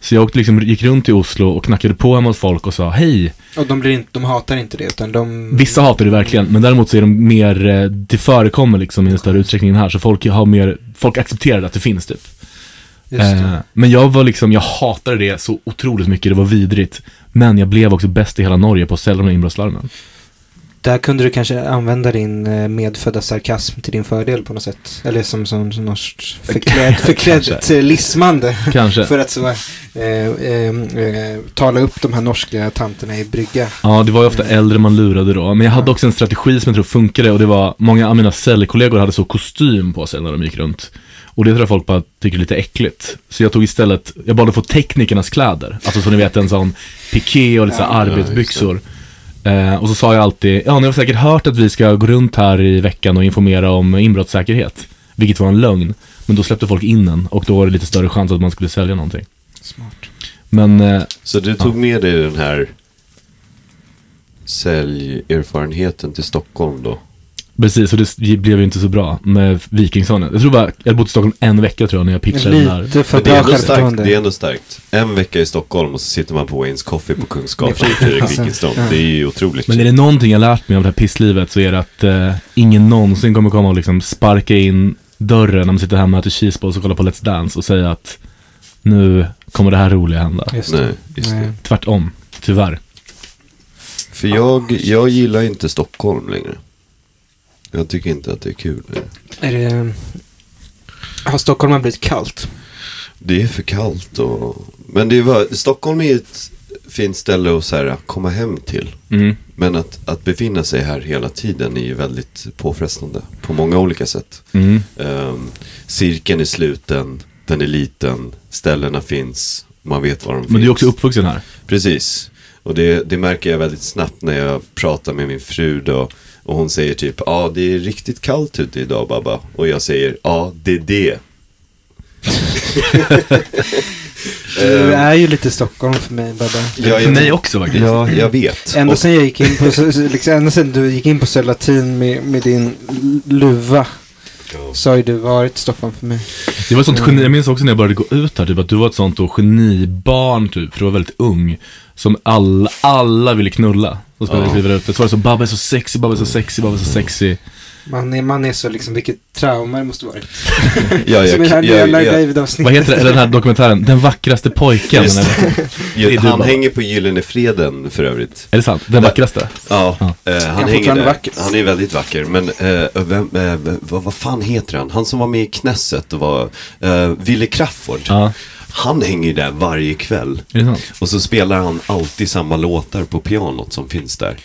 C: Så jag åkte liksom, gick runt i Oslo och knackade på hemma hos folk och sa hej.
B: Och de, blir inte, de hatar inte det utan de...
C: Vissa hatar det verkligen, men däremot så är de mer, eh, det förekommer liksom i en större utsträckning än här. Så folk har mer, folk accepterar att det finns typ.
B: Just det.
C: Eh, men jag var liksom, jag hatade det så otroligt mycket, det var vidrigt. Men jag blev också bäst i hela Norge på att sälja de här inbrottslarmen.
B: Där kunde du kanske använda din eh, medfödda sarkasm till din fördel på något sätt. Eller som, som, som norskt förklädd, förklädd eh, lismande.
C: Kanske.
B: För att så, eh, eh, eh, tala upp de här norska tanterna i brygga.
C: Ja, det var ju ofta äldre man lurade då. Men jag hade också en strategi som jag tror funkade och det var, många av mina säljkollegor hade så kostym på sig när de gick runt. Och det tror jag folk bara tycker är lite äckligt. Så jag tog istället, jag bad att få teknikernas kläder. Alltså som ni vet en sån piké och lite så här arbetsbyxor. Eh, och så sa jag alltid, ja ni har säkert hört att vi ska gå runt här i veckan och informera om inbrottssäkerhet. Vilket var en lögn. Men då släppte folk in en och då var det lite större chans att man skulle sälja någonting.
B: Smart.
C: Men eh,
A: Så du tog med dig den här säljerfarenheten till Stockholm då?
C: Precis, och det s- blev ju inte så bra med Vikingssonen. Jag tror bara, jag hade bott i Stockholm en vecka tror jag när jag pitchade den här.
B: Lite för
A: Men det, är
B: bra
A: ändå starkt, det är
B: självförtroende.
A: ändå starkt. En vecka i Stockholm och så sitter man på Wayne's Coffee på Kungsgatan
B: Med
A: med Fredrik
B: flygplatsen.
A: Wikingsson.
B: Ja.
A: Det är ju otroligt.
C: Men är det någonting jag lärt mig av det här pisslivet så är det att eh, ingen någonsin kommer komma och liksom sparka in dörren när man sitter hemma och äter cheeseballs och kollar på Let's Dance och säga att nu kommer det här roliga hända.
B: Just det.
A: Nej, just
B: Nej.
A: det.
C: Tvärtom, tyvärr.
A: För jag, jag gillar inte Stockholm längre. Jag tycker inte att det är kul längre.
B: Är det... eh, Har Stockholm har blivit kallt?
A: Det är för kallt och... Men det är bara, Stockholm är ett fint ställe att så här, komma hem till.
C: Mm.
A: Men att, att befinna sig här hela tiden är ju väldigt påfrestande på många olika sätt.
C: Mm.
A: Ehm, cirkeln är sluten, den är liten, ställena finns, man vet var de finns.
C: Men du är också uppvuxen här.
A: Precis. Och det, det märker jag väldigt snabbt när jag pratar med min fru då. Och hon säger typ, ja ah, det är riktigt kallt ute idag babba. Och jag säger, ja ah, det är det. Eh.
B: Du är ju lite Stockholm för mig, Babben.
A: Ja,
C: För
A: jag-
C: mig också faktiskt.
A: Ja, jag vet.
B: Ända
A: Och-
B: sen jag gick in på, liksom, ända sen du gick in på Selatin med, med din l- luva så har ju du varit Stockholm för mig.
C: Det var ett sånt geni, jag minns också när jag började gå ut här, typ att du var ett sånt då genibarn typ, för du var väldigt ung. Som alla, alla ville knulla. Och spelade
A: Ja.
C: skivor där ute. Så var det så, Babba är så sexy, Babba är så sexy, Babba är så sexy.
B: Man är, man är så liksom, vilket trauma det måste varit.
A: Ja,
B: Som i det
A: jag,
B: här nya
A: jag,
B: Live
A: jag,
C: Vad
B: David-avsnittet.
C: heter det, den här dokumentären, Den vackraste pojken.
A: Just
C: Eller, är du,
A: jag, han
C: Babba.
A: hänger på Gyllene Freden för övrigt.
C: är det sant? Den vackraste?
A: Ja, eh,
B: Han
A: han
B: är
A: hänger
B: fortfarande
A: där.
B: vacker.
A: Han är väldigt vacker. Men eh, vem, eh, v- vad, vad fan heter han? Han som var med i Knesset och var eh, Wille Crafoord.
C: Ja.
A: Han hänger ju där varje kväll.
C: Är det sant?
A: Och så spelar han alltid samma låtar på pianot som finns där.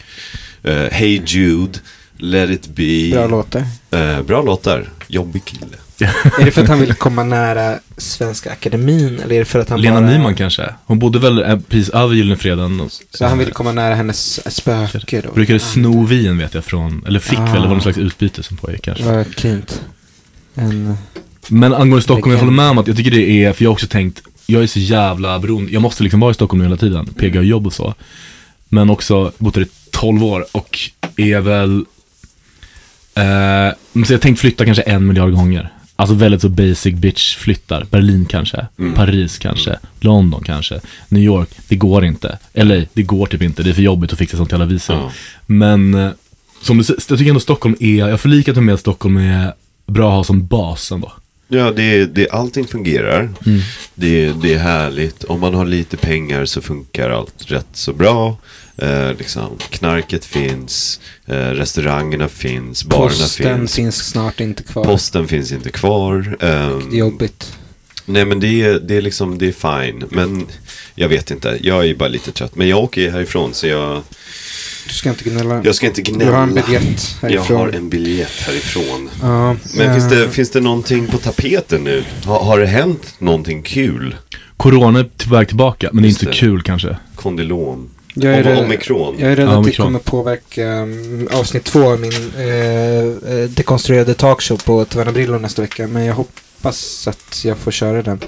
A: Eh, hey Jude, Let it be.
B: Bra låtar.
A: Eh, bra låtar. Jobbig kille.
B: Är det för att han ville komma nära Svenska Akademin eller är det för att han
C: Lena
B: bara...
C: Nyman kanske? Hon bodde väl eh, precis över Gyllene Freden. Och,
B: Så han ville komma nära hennes spöke då?
C: Brukade sno vin vet jag från, eller fick
B: Ah.
C: väl, det var någon slags utbyte som pågick kanske.
B: Vad klint. En...
C: Men angående Stockholm, jag
B: Legend.
C: håller med om att jag tycker det är, för jag har också tänkt, jag är så jävla beroende, jag måste liksom vara i Stockholm hela tiden, PGA och jobb och så. Men också, bott här i 12 år och är väl, eh, så jag har tänkt flytta kanske en miljard gånger. Alltså väldigt så basic bitch flyttar. Berlin kanske, Paris kanske, London kanske, New York, det går inte. LA, det går typ inte, det är för jobbigt att fixa sånt jävla visum.
A: Ja.
C: Men eh, som du säger, jag tycker ändå Stockholm är, jag har förlikat mig med att Stockholm är bra att ha som bas ändå.
A: Ja, det, det, allting fungerar.
B: Mm.
A: Det, det är härligt. Om man har lite pengar så funkar allt rätt så bra. Eh, liksom, knarket finns, eh, restaurangerna finns, barerna
B: Posten
A: finns.
B: finns. snart inte kvar.
A: Posten finns inte kvar. Ehm,
B: Det är jobbigt.
A: nej men det är, det är liksom, det är fine. Men jag vet inte, jag är bara lite trött. Men jag åker ju härifrån så jag,
B: Du ska inte gnälla.
A: jag ska inte
B: Du har en
A: gnälla.
B: biljett
A: Jag
B: härifrån.
A: har en biljett härifrån.
B: Ja,
A: Men
B: eh,
A: finns, det, finns det någonting på tapeten nu? Har, har det hänt någonting kul?
C: Corona är på väg tillbaka, men det är
A: Just
C: inte så
A: det.
C: kul kanske.
A: Kondylom.
B: Jag är
A: Om-
B: rädd-
A: omikron.
B: Jag är rädd
C: Ja,
B: att det
C: omikron.
B: kommer påverka mm, avsnitt två av min eh, eh, dekonstruerade talkshow på Taverna Brillo nästa vecka. Men jag hoppas att jag får köra den.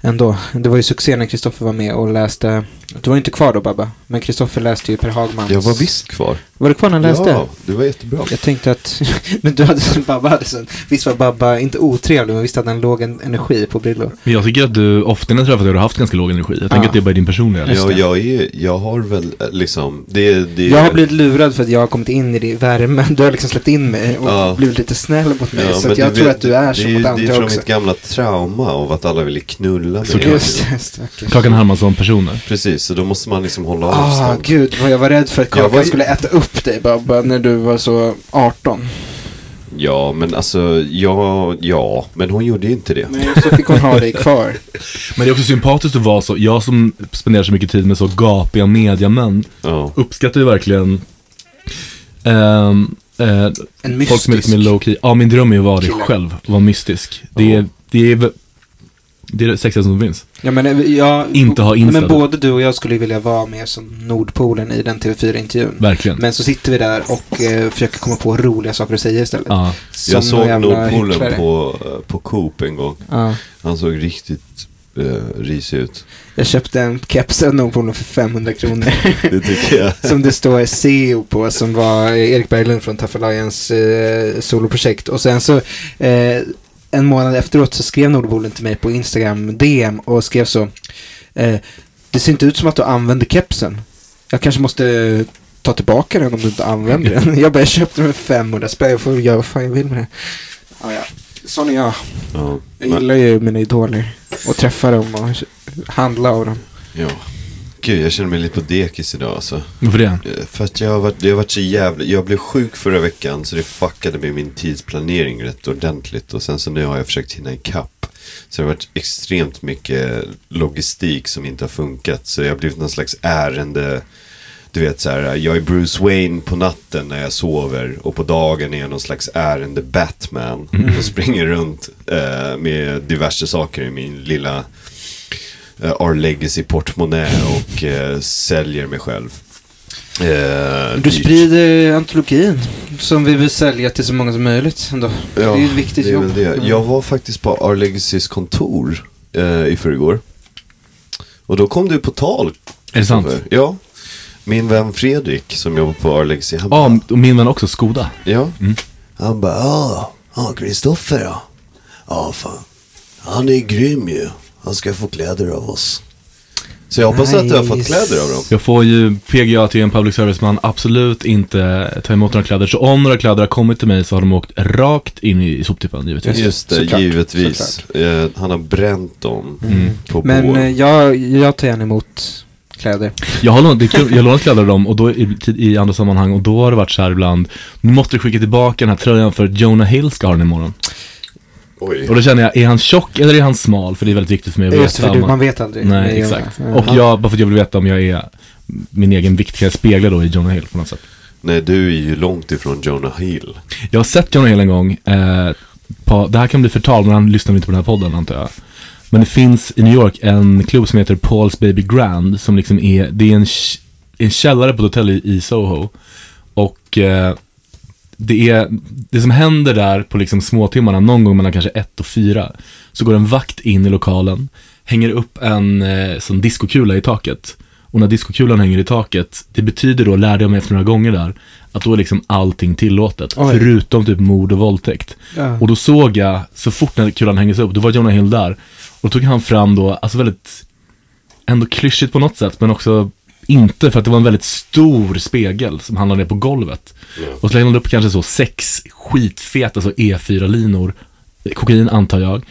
B: ändå. Det var ju succé när Kristoffer var med och läste. Du var inte kvar då Babba, men Kristoffer läste ju Per Hagmans.
A: Jag var visst kvar.
B: Var du kvar när han läste?
A: Ja, du var jättebra.
B: Jag tänkte att, (laughs) men du hade som Babba hade sån, visst var Babba inte otrevlig men visst hade han låg en- energi på Brillo.
C: Men jag tycker att du ofta när jag träffat dig har du haft ganska låg energi. Jag tänker
B: Ja.
C: att det är bara din personlighet.
B: Just
A: Jag,
B: det.
A: jag, är, jag har väl eh, liksom, det, det
B: Jag har blivit lurad för att jag har kommit in i din värme. Du har liksom släppt in mig och
A: Ja.
B: blivit lite snäll mot mig. så
A: men
B: att jag
A: du
B: tror
A: vet,
B: att du är så
A: det
B: mot
A: ju- Det är
B: andra
A: från
B: också.
A: mitt gamla trauma av att alla ville knulla mig.
C: Såklart.
B: Just det, just det. okej.
C: Kakan Hermansson-personer.
A: Precis, så då måste man liksom hålla
B: Ah,
A: avstånd.
B: gud vad jag var rädd för att
A: Jag
B: Kakan
A: var ju-
B: skulle äta upp dig Babba när du var så 18.
A: Ja, men alltså, ja, ja, men hon gjorde ju inte det.
B: Men så fick hon ha dig kvar.
C: Men det är också sympatiskt att vara så. Jag som spenderar så mycket tid med så gapiga mediamän
A: Ja.
C: uppskattar ju verkligen ehm, eh,
B: En
C: folk som är
B: mystisk.
C: lite mer low key. Ja, min dröm är ju att vara det
B: kille.
C: själv. att Vara mystisk. Det är, det är, vä- det är det sexigaste som finns.
B: Ja, men, eh, jag,
C: Inte ha Insta.
B: Men både du och jag skulle ju vilja vara med som Nordpolen i den TV4-intervjun.
C: Verkligen.
B: Men så sitter vi där och eh, försöker komma på roliga saker att säga istället.
C: Ja.
B: Som
A: Jag såg
B: jävla hycklare.
A: Nordpolen på, eh, på Coop en gång.
B: Ja.
A: Han såg riktigt eh, risig ut.
B: Jag köpte en keps av Nordpolen för 500 (laughs) kronor.
A: Det
B: typ-
A: tycker jag.
B: som det står CEO på, som var Erik Berglund från Tough Alliance eh, soloprojekt. Och sen så, eh, en månad efteråt så skrev Nordpolen till mig på Instagram DM och skrev så. Eh, det ser inte ut som att du använder kepsen. Jag kanske måste eh, ta tillbaka den om du inte använder (laughs) den. Jag bara, jag köpte den för 500 spänn. Jag får göra vad fan jag vill med den. Ja, ja. Sån är jag.
A: Ja,
B: Jag
A: men,
B: gillar ju mina idoler. Och träffa dem och handla av dem.
A: ja. Gud, jag känner mig lite på dekis idag alltså.
C: Varför det?
A: Eh, För att jag har varit, jag har varit så jävla, jag blev sjuk förra veckan så det fuckade med min tidsplanering rätt ordentligt och sen så nu har jag försökt hinna ikapp. Så det har varit extremt mycket logistik som inte har funkat så jag har blivit någon slags ärende, du vet så här, jag är Bruce Wayne på natten när jag sover och på dagen är jag någon slags ärende Batman
B: Mm.
A: och springer runt eh, med diverse saker i min lilla eh, Our Legacy portmonnä och eh, säljer mig själv. Eh,
B: Du
A: dyrt.
B: sprider antologin som vi vill sälja till så många som möjligt ändå. det är ju ett viktigt
A: det är
B: jobb. Mm.
A: väl Det. Jag var faktiskt på Our Legacys kontor eh, i förrgår. Och då kom du på tal.
C: Är det sant?
A: Kristoffer. Ja. Min vän Fredrik som jobbar på Our Legacy, han
C: Ja, och min vän också, Skoda.
A: Ja.
C: Mm.
A: Han bara, ja, ja, Kristoffer ja. Ja, fan. Han är grym ju. Han ska få kläder av oss. Så jag hoppas att du har fått
B: Nice.
A: kläder av dem.
C: Jag får ju PGA till en public service-man absolut inte ta emot några kläder. Så om några kläder har kommit till mig så har de åkt rakt in i soptippen givetvis.
A: Just det,
B: Såklart,
A: givetvis.
B: såklart.
A: Eh, han har bränt dem
C: Mm.
A: på
B: Men
A: bål.
B: eh, jag, jag tar gärna emot kläder.
C: Jag har lånat, det är kul, jag har lånat kläder av dem och då i, i andra sammanhang och då har det varit så här ibland. Nu måste du skicka tillbaka den här tröjan för att Jonah Hill ska ha den imorgon.
A: Oj.
C: Och då känner jag, är han tjock eller är han smal? För det är väldigt viktigt för mig att veta.
B: Just det, för du,
C: om-
B: man vet aldrig. med
C: Nej,
B: Jonah.
C: exakt.
B: Ja.
C: Och jag, bara för att jag vill veta om jag är min egen vikt, kan jag spegla då i Jonah Hill på något sätt.
A: Nej, du är ju långt ifrån Jonah Hill.
C: Jag har sett Jonah Hill en gång. Eh, på, det här kan bli förtal, men han lyssnar inte på den här podden antar jag. Men det finns i New York en klubb som heter Paul's Baby Grand. Som liksom är, det är en, k- en källare på ett hotell i, i Soho. Och eh, det, är, det som händer där på liksom småtimmarna, någon gång mellan kanske ett och fyra. Så går en vakt in i lokalen, hänger upp en eh, sån diskokula i taket. Och när diskokulan hänger i taket, det betyder då, lärde jag mig efter några gånger där, att då är liksom allting tillåtet.
B: Oj.
C: Förutom typ mord och våldtäkt.
B: Ja.
C: Och då såg jag, så fort när kulan hängdes upp, då var Jonah Hill där. Och då tog han fram då, alltså väldigt, ändå klyschigt på något sätt, men också inte, för att det var en väldigt stor spegel som han la ner på golvet. Och så lägger han upp kanske så sex skitfeta, så E4-linor, kokain antar jag.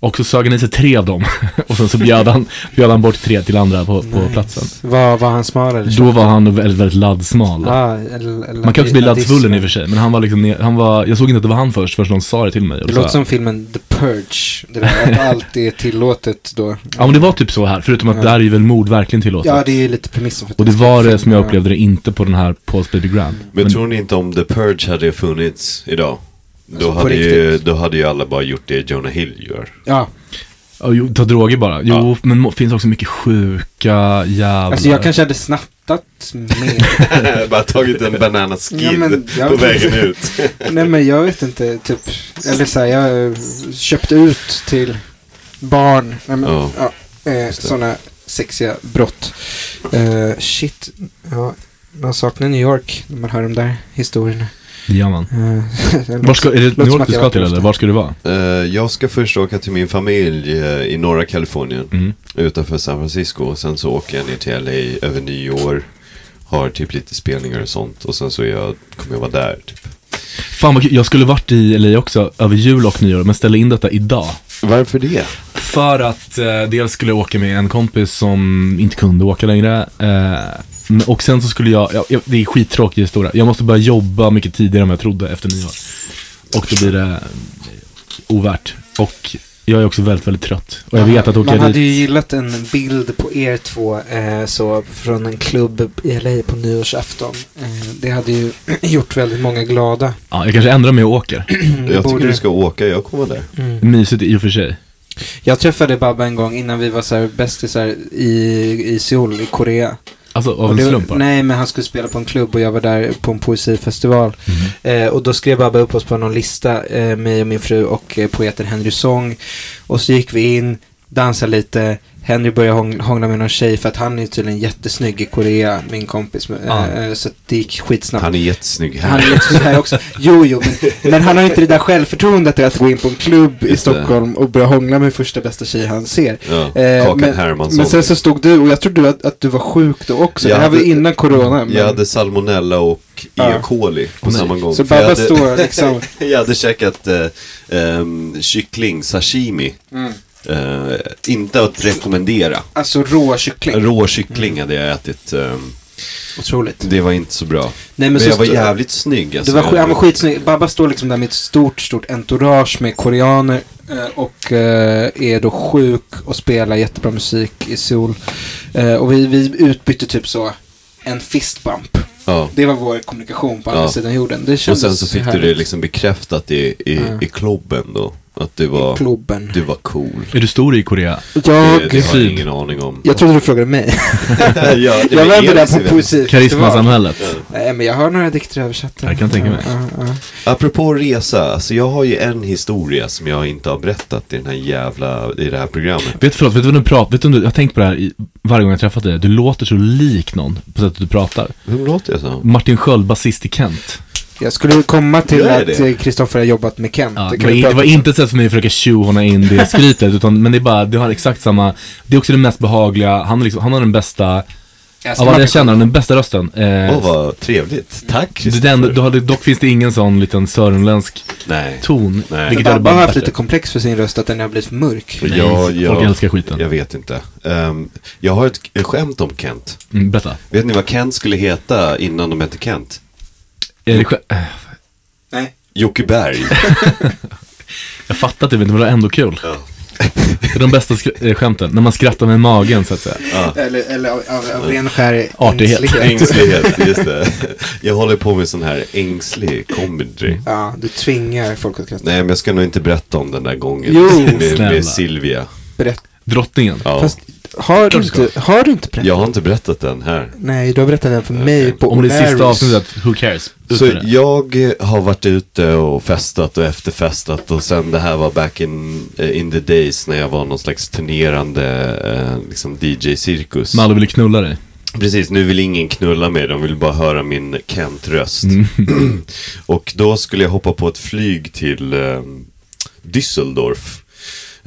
C: Och så sög han i sig tre av dem. (laughs) och sen så bjöd han, bjöd han bort tre till andra på, på
B: Nice.
C: platsen.
B: Var, var han smal eller
C: Då var han väldigt, väldigt laddsmal.
B: Ah, el- el-
C: Man kan också bli
B: ladism.
C: laddsvullen i och för sig, men han var liksom, ner- han var, jag såg inte att det var han först förrän någon sa det till mig. Och
B: Det
C: då
B: låter
C: sa
B: som
C: jag,
B: filmen The Purge. Det där att allt är tillåtet då.
C: Ja men det var typ så här, förutom att
B: Ja.
C: där är ju väl mord verkligen tillåtet.
B: Ja, det är ju lite premissen för att
C: och det
B: ska
C: var
B: vara
C: det
B: film,
C: som jag
B: ja.
C: upplevde det inte på den här Paul's Baby Grand.
A: Men,
C: Men-
A: tror ni inte om The Purge hade funnits idag? Då,
B: Alltså, på
A: hade ju,
B: riktigt?
A: då hade ju alla bara gjort det Jonah Hill
B: (laughs)
A: gör.
B: Ja,
C: Ja, jo, ta droger bara. Jo,
A: Ja.
C: men må- finns också mycket sjuka jävlar.
B: alltså jag kanske hade snattat mer.
A: bara tagit en banana skin
B: Ja, men jag-
A: på vägen ut.
B: Nej men jag vet inte, typ, eller så här, jag eh, köpte ut till barn. Nej, men,
A: Ja.
B: ja, eh,
A: Just det.
B: sådana sexiga brott. Eh, shit, ja, man saknar New York när man hör de där historierna.
C: Jajamän.
B: Eh, (laughs)
C: Var ska, är det
B: som
C: New York
B: att
C: du
B: jag
C: ska
B: varit
C: till
B: ofta.
C: eller? Var ska du vara?
A: Eh, jag ska först åka till min familj eh, i norra Kalifornien
C: Mm.
A: utanför San Francisco och sen så åker jag ner till LA över nyår. Har typ lite spelningar och sånt och sen så är jag, kommer jag vara där typ.
C: Fan vad kul. jag skulle varit i LA också över jul och nyår, men ställde in detta idag.
A: Varför det?
C: För att eh, dels skulle jag åka med en kompis som inte kunde åka längre. Eh, men- och sen så skulle jag, ja, jag, det är skittråkig historia, jag måste börja jobba mycket tidigare än vad jag trodde efter nyår. Och då blir det eh, ovärt. Och jag är också väldigt, väldigt trött. Och jag vet att åka
B: Man
C: dit...
B: hade ju gillat en bild på er två eh, så, från en klubb i LA på nyårsafton. Eh, det hade ju (clears throat) gjort väldigt många glada.
C: Ja, jag kanske ändrar mig och åker.
B: Det
A: Mm, Jag
B: borde-
A: tycker du ska åka, jag kommer vara där.
B: Mm.
C: Mysigt i och för sig.
B: Jag träffade Babba en gång innan vi var så här bästisar i, i Seoul, i Korea.
C: Alltså av
B: Och
C: en
B: det var-
C: slump bara.
B: Nej, men han skulle spela på en klubb och jag var där på en poesifestival.
C: Mhm.
B: Eh, och då skrev Babba upp oss på någon lista, eh, mig och min fru och eh, poeten Henry Song. Och så gick vi in, dansade lite. Henry började hång- hångla med någon tjej för att han är tydligen jättesnygg i Korea, min kompis. Eh,
C: Ah.
B: eh, så att det gick skitsnabbt.
A: Han är jättesnygg
B: Han
A: här.
B: är också här också. Jo, jo, men, men han har inte det där självförtroendet att gå in på en klubb i
A: Just det.
B: Stockholm och börja hångla med första bästa tjej han ser.
A: Ja,
B: Eh,
A: Kakan
B: men-
A: Hermansson.
B: Men sen så stod du, och jag tror du att, att du var sjuk då också.
A: Jag
B: det här var
A: hade-
B: innan corona. Men,
A: Jag hade salmonella och
B: Ja.
A: E. coli på
C: Åh, nej.
A: samma gång.
B: Så
A: För jag
B: Babba
A: hade-
B: står liksom-
A: (laughs) jag hade käkat eh, ehm, kyckling sashimi.
B: Mm.
A: Eh, inte att rekommendera.
B: Alltså rå kyckling.
A: Rå kyckling hade jag ätit. ehm,
B: Otroligt.
A: det var inte så bra.
B: Nej, men,
A: Men,
B: så
A: jag var
B: stod-
A: jävligt snygg.
B: Det
A: Alltså.
B: var, sk- han var skitsnygg. Babba står liksom där med ett stort, stort entourage med koreaner eh, och eh, är då sjuk och spelar jättebra musik i Seoul. Eh, Och vi, vi utbytte typ så en fistbump.
A: Ja.
B: Det var vår kommunikation på andra
A: Ja.
B: sidan jorden. Det
A: Och
B: kändes
A: sen så fick du
B: härligt.
A: det liksom bekräftat i, i,
B: Ja.
A: i klubben då. Att du
B: I
A: var,
B: klubben.
A: du var cool.
C: Är du stor i Korea?
A: Det, det
B: Jag,
A: har jag ingen aning om.
B: jag trodde du frågade mig.
A: (laughs) Ja, det
B: Jag
A: var
B: vände
A: Elis
B: där på
A: event.
B: poesifestivalen.
C: Karismasamhället.
B: Nej, men jag har några dikter översatta.
C: Jag kan tänka mig.
B: Ja, ja, ja.
A: Apropå resa, alltså jag har ju en historia som jag inte har berättat i den här jävla, i det här programmet.
C: Vet, förlåt, vet du vad du pratar, vet du, om du- jag har tänkt på det här i, varje gång jag träffat dig. Du låter så lik någon på sättet du pratar.
A: Hur låter jag så?
C: Martin Sköld, basist i Kent.
B: Jag skulle komma till
A: Gör jag
B: att
A: det?
B: eh, Kristoffer har jobbat med Kent.
C: Ja,
B: Det
C: det,
B: kan
C: var
B: vi
C: in, det
B: prata
C: var
B: om.
C: inte ett sätt för mig att försöka tjohåna in det skrytet, utan, men det är bara, du har exakt samma, det är också det mest behagliga, han, är liksom, han har den bästa,
B: Jag ska-
C: av alla jag känner, den bästa rösten. Eh,
A: Åh vad trevligt. Tack
C: det är den, du
A: Kristoffer.
C: har, dock finns det ingen sån liten sörmländsk
A: Nej.
C: ton,
A: Nej.
C: vilket jag hade
B: Babba har
C: bara
B: haft lite komplex för sin röst att den har blivit för mörk.
A: Nej,
C: Ja, Folk älskar skiten.
A: Jag vet inte. Ehm, jag har ett ett skämt om Kent.
C: Mm, berätta.
A: Vet ni vad Kent skulle heta innan de hette Kent?
C: Är det skö- eh,
B: Nej.
A: Jocke
C: (laughs)
A: Berg.
C: jag fattar typ inte, men det var ändå kul.
A: Ja.
C: Det är de bästa skr- eh, skämten, när man skrattar med magen så att säga.
B: Eller, eller av, av, av ren och skär
C: Artighet.
B: ängslighet.
A: Ängslighet, just det. Jag håller på med sån här ängslig
C: Mm.
A: comedy.
B: Ja, du tvingar folk att skratta.
A: Nej, men jag ska nog inte berätta om den där gången
B: Jo,
A: med,
C: snälla.
A: med Silvia.
B: Berätt.
C: Drottningen.
A: Ja.
B: Fast har du,
C: Klart du
B: inte, har du inte berättat?
A: Jag har inte berättat den här.
B: Nej, du har berättat den för mig på
C: Om det är
B: O'Larys.
C: sista avsnittet, who cares? Ut
A: Så
C: med det.
A: jag eh, har varit ute och festat och efterfestat och sen det här var back in, eh, in the days när jag var någon slags turnerande eh, liksom DJ-cirkus.
C: Malou ville knulla dig.
A: Precis, nu vill ingen knulla mig, de vill bara höra min Kent-röst. (clears throat) och då skulle jag hoppa på ett flyg till eh, Düsseldorf.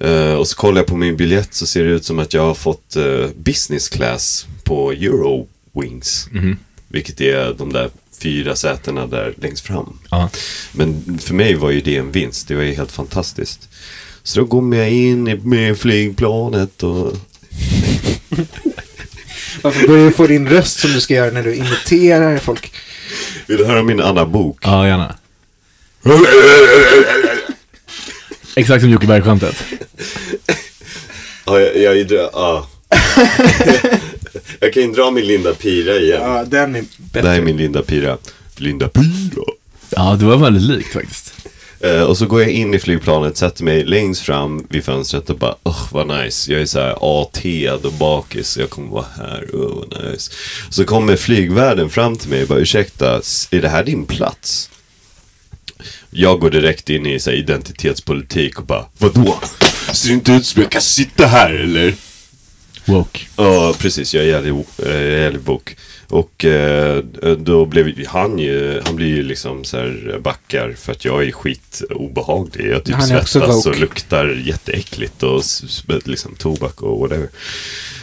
A: Eh, och så kollar jag på min biljett så ser det ut som att jag har fått eh, business class på Eurowings. Vilket är de där fyra sätena där längst fram.
C: Ja.
A: Men för mig var ju det en vinst. Det var ju helt fantastiskt. Så då kom jag in i- med flygplanet och...
B: Varför börjar du få din röst som du ska göra när du imiterar folk?
A: Vill du höra min Anna Bok?
C: ja, gärna. Exakt som Jocke Berg-skämtet.
A: Ja, jag, jag, dra- ja. (laughs) jag kan ju dra min Linda Pira igen.
B: Ja, den är
A: Det här är
B: bättre.
A: min Linda Pira. Linda Pira.
C: Ja, det var väldigt likt faktiskt.
A: Eh, och så går jag in i flygplanet, sätter mig längst fram vid fönstret och bara, oh vad nice. Jag är så här AT och bakis, jag kommer vara här, oh vad nice. Så kommer flygvärden fram till mig och bara, ursäkta, s- är det här din plats? Jag går direkt in i så här, identitetspolitik och bara, vadå? Ser inte ut som jag kan sitta här eller?
C: Woke.
A: Ja, precis. Jag är jävligt- eh, jag är jävligt bok. Och eh, då blev han ju, han blir ju liksom så här backar för att jag är skitobehaglig. Jag typ
B: Han är också
A: svettas
B: woke.
A: och luktar jätteäckligt och s- s- liksom tobak och whatever.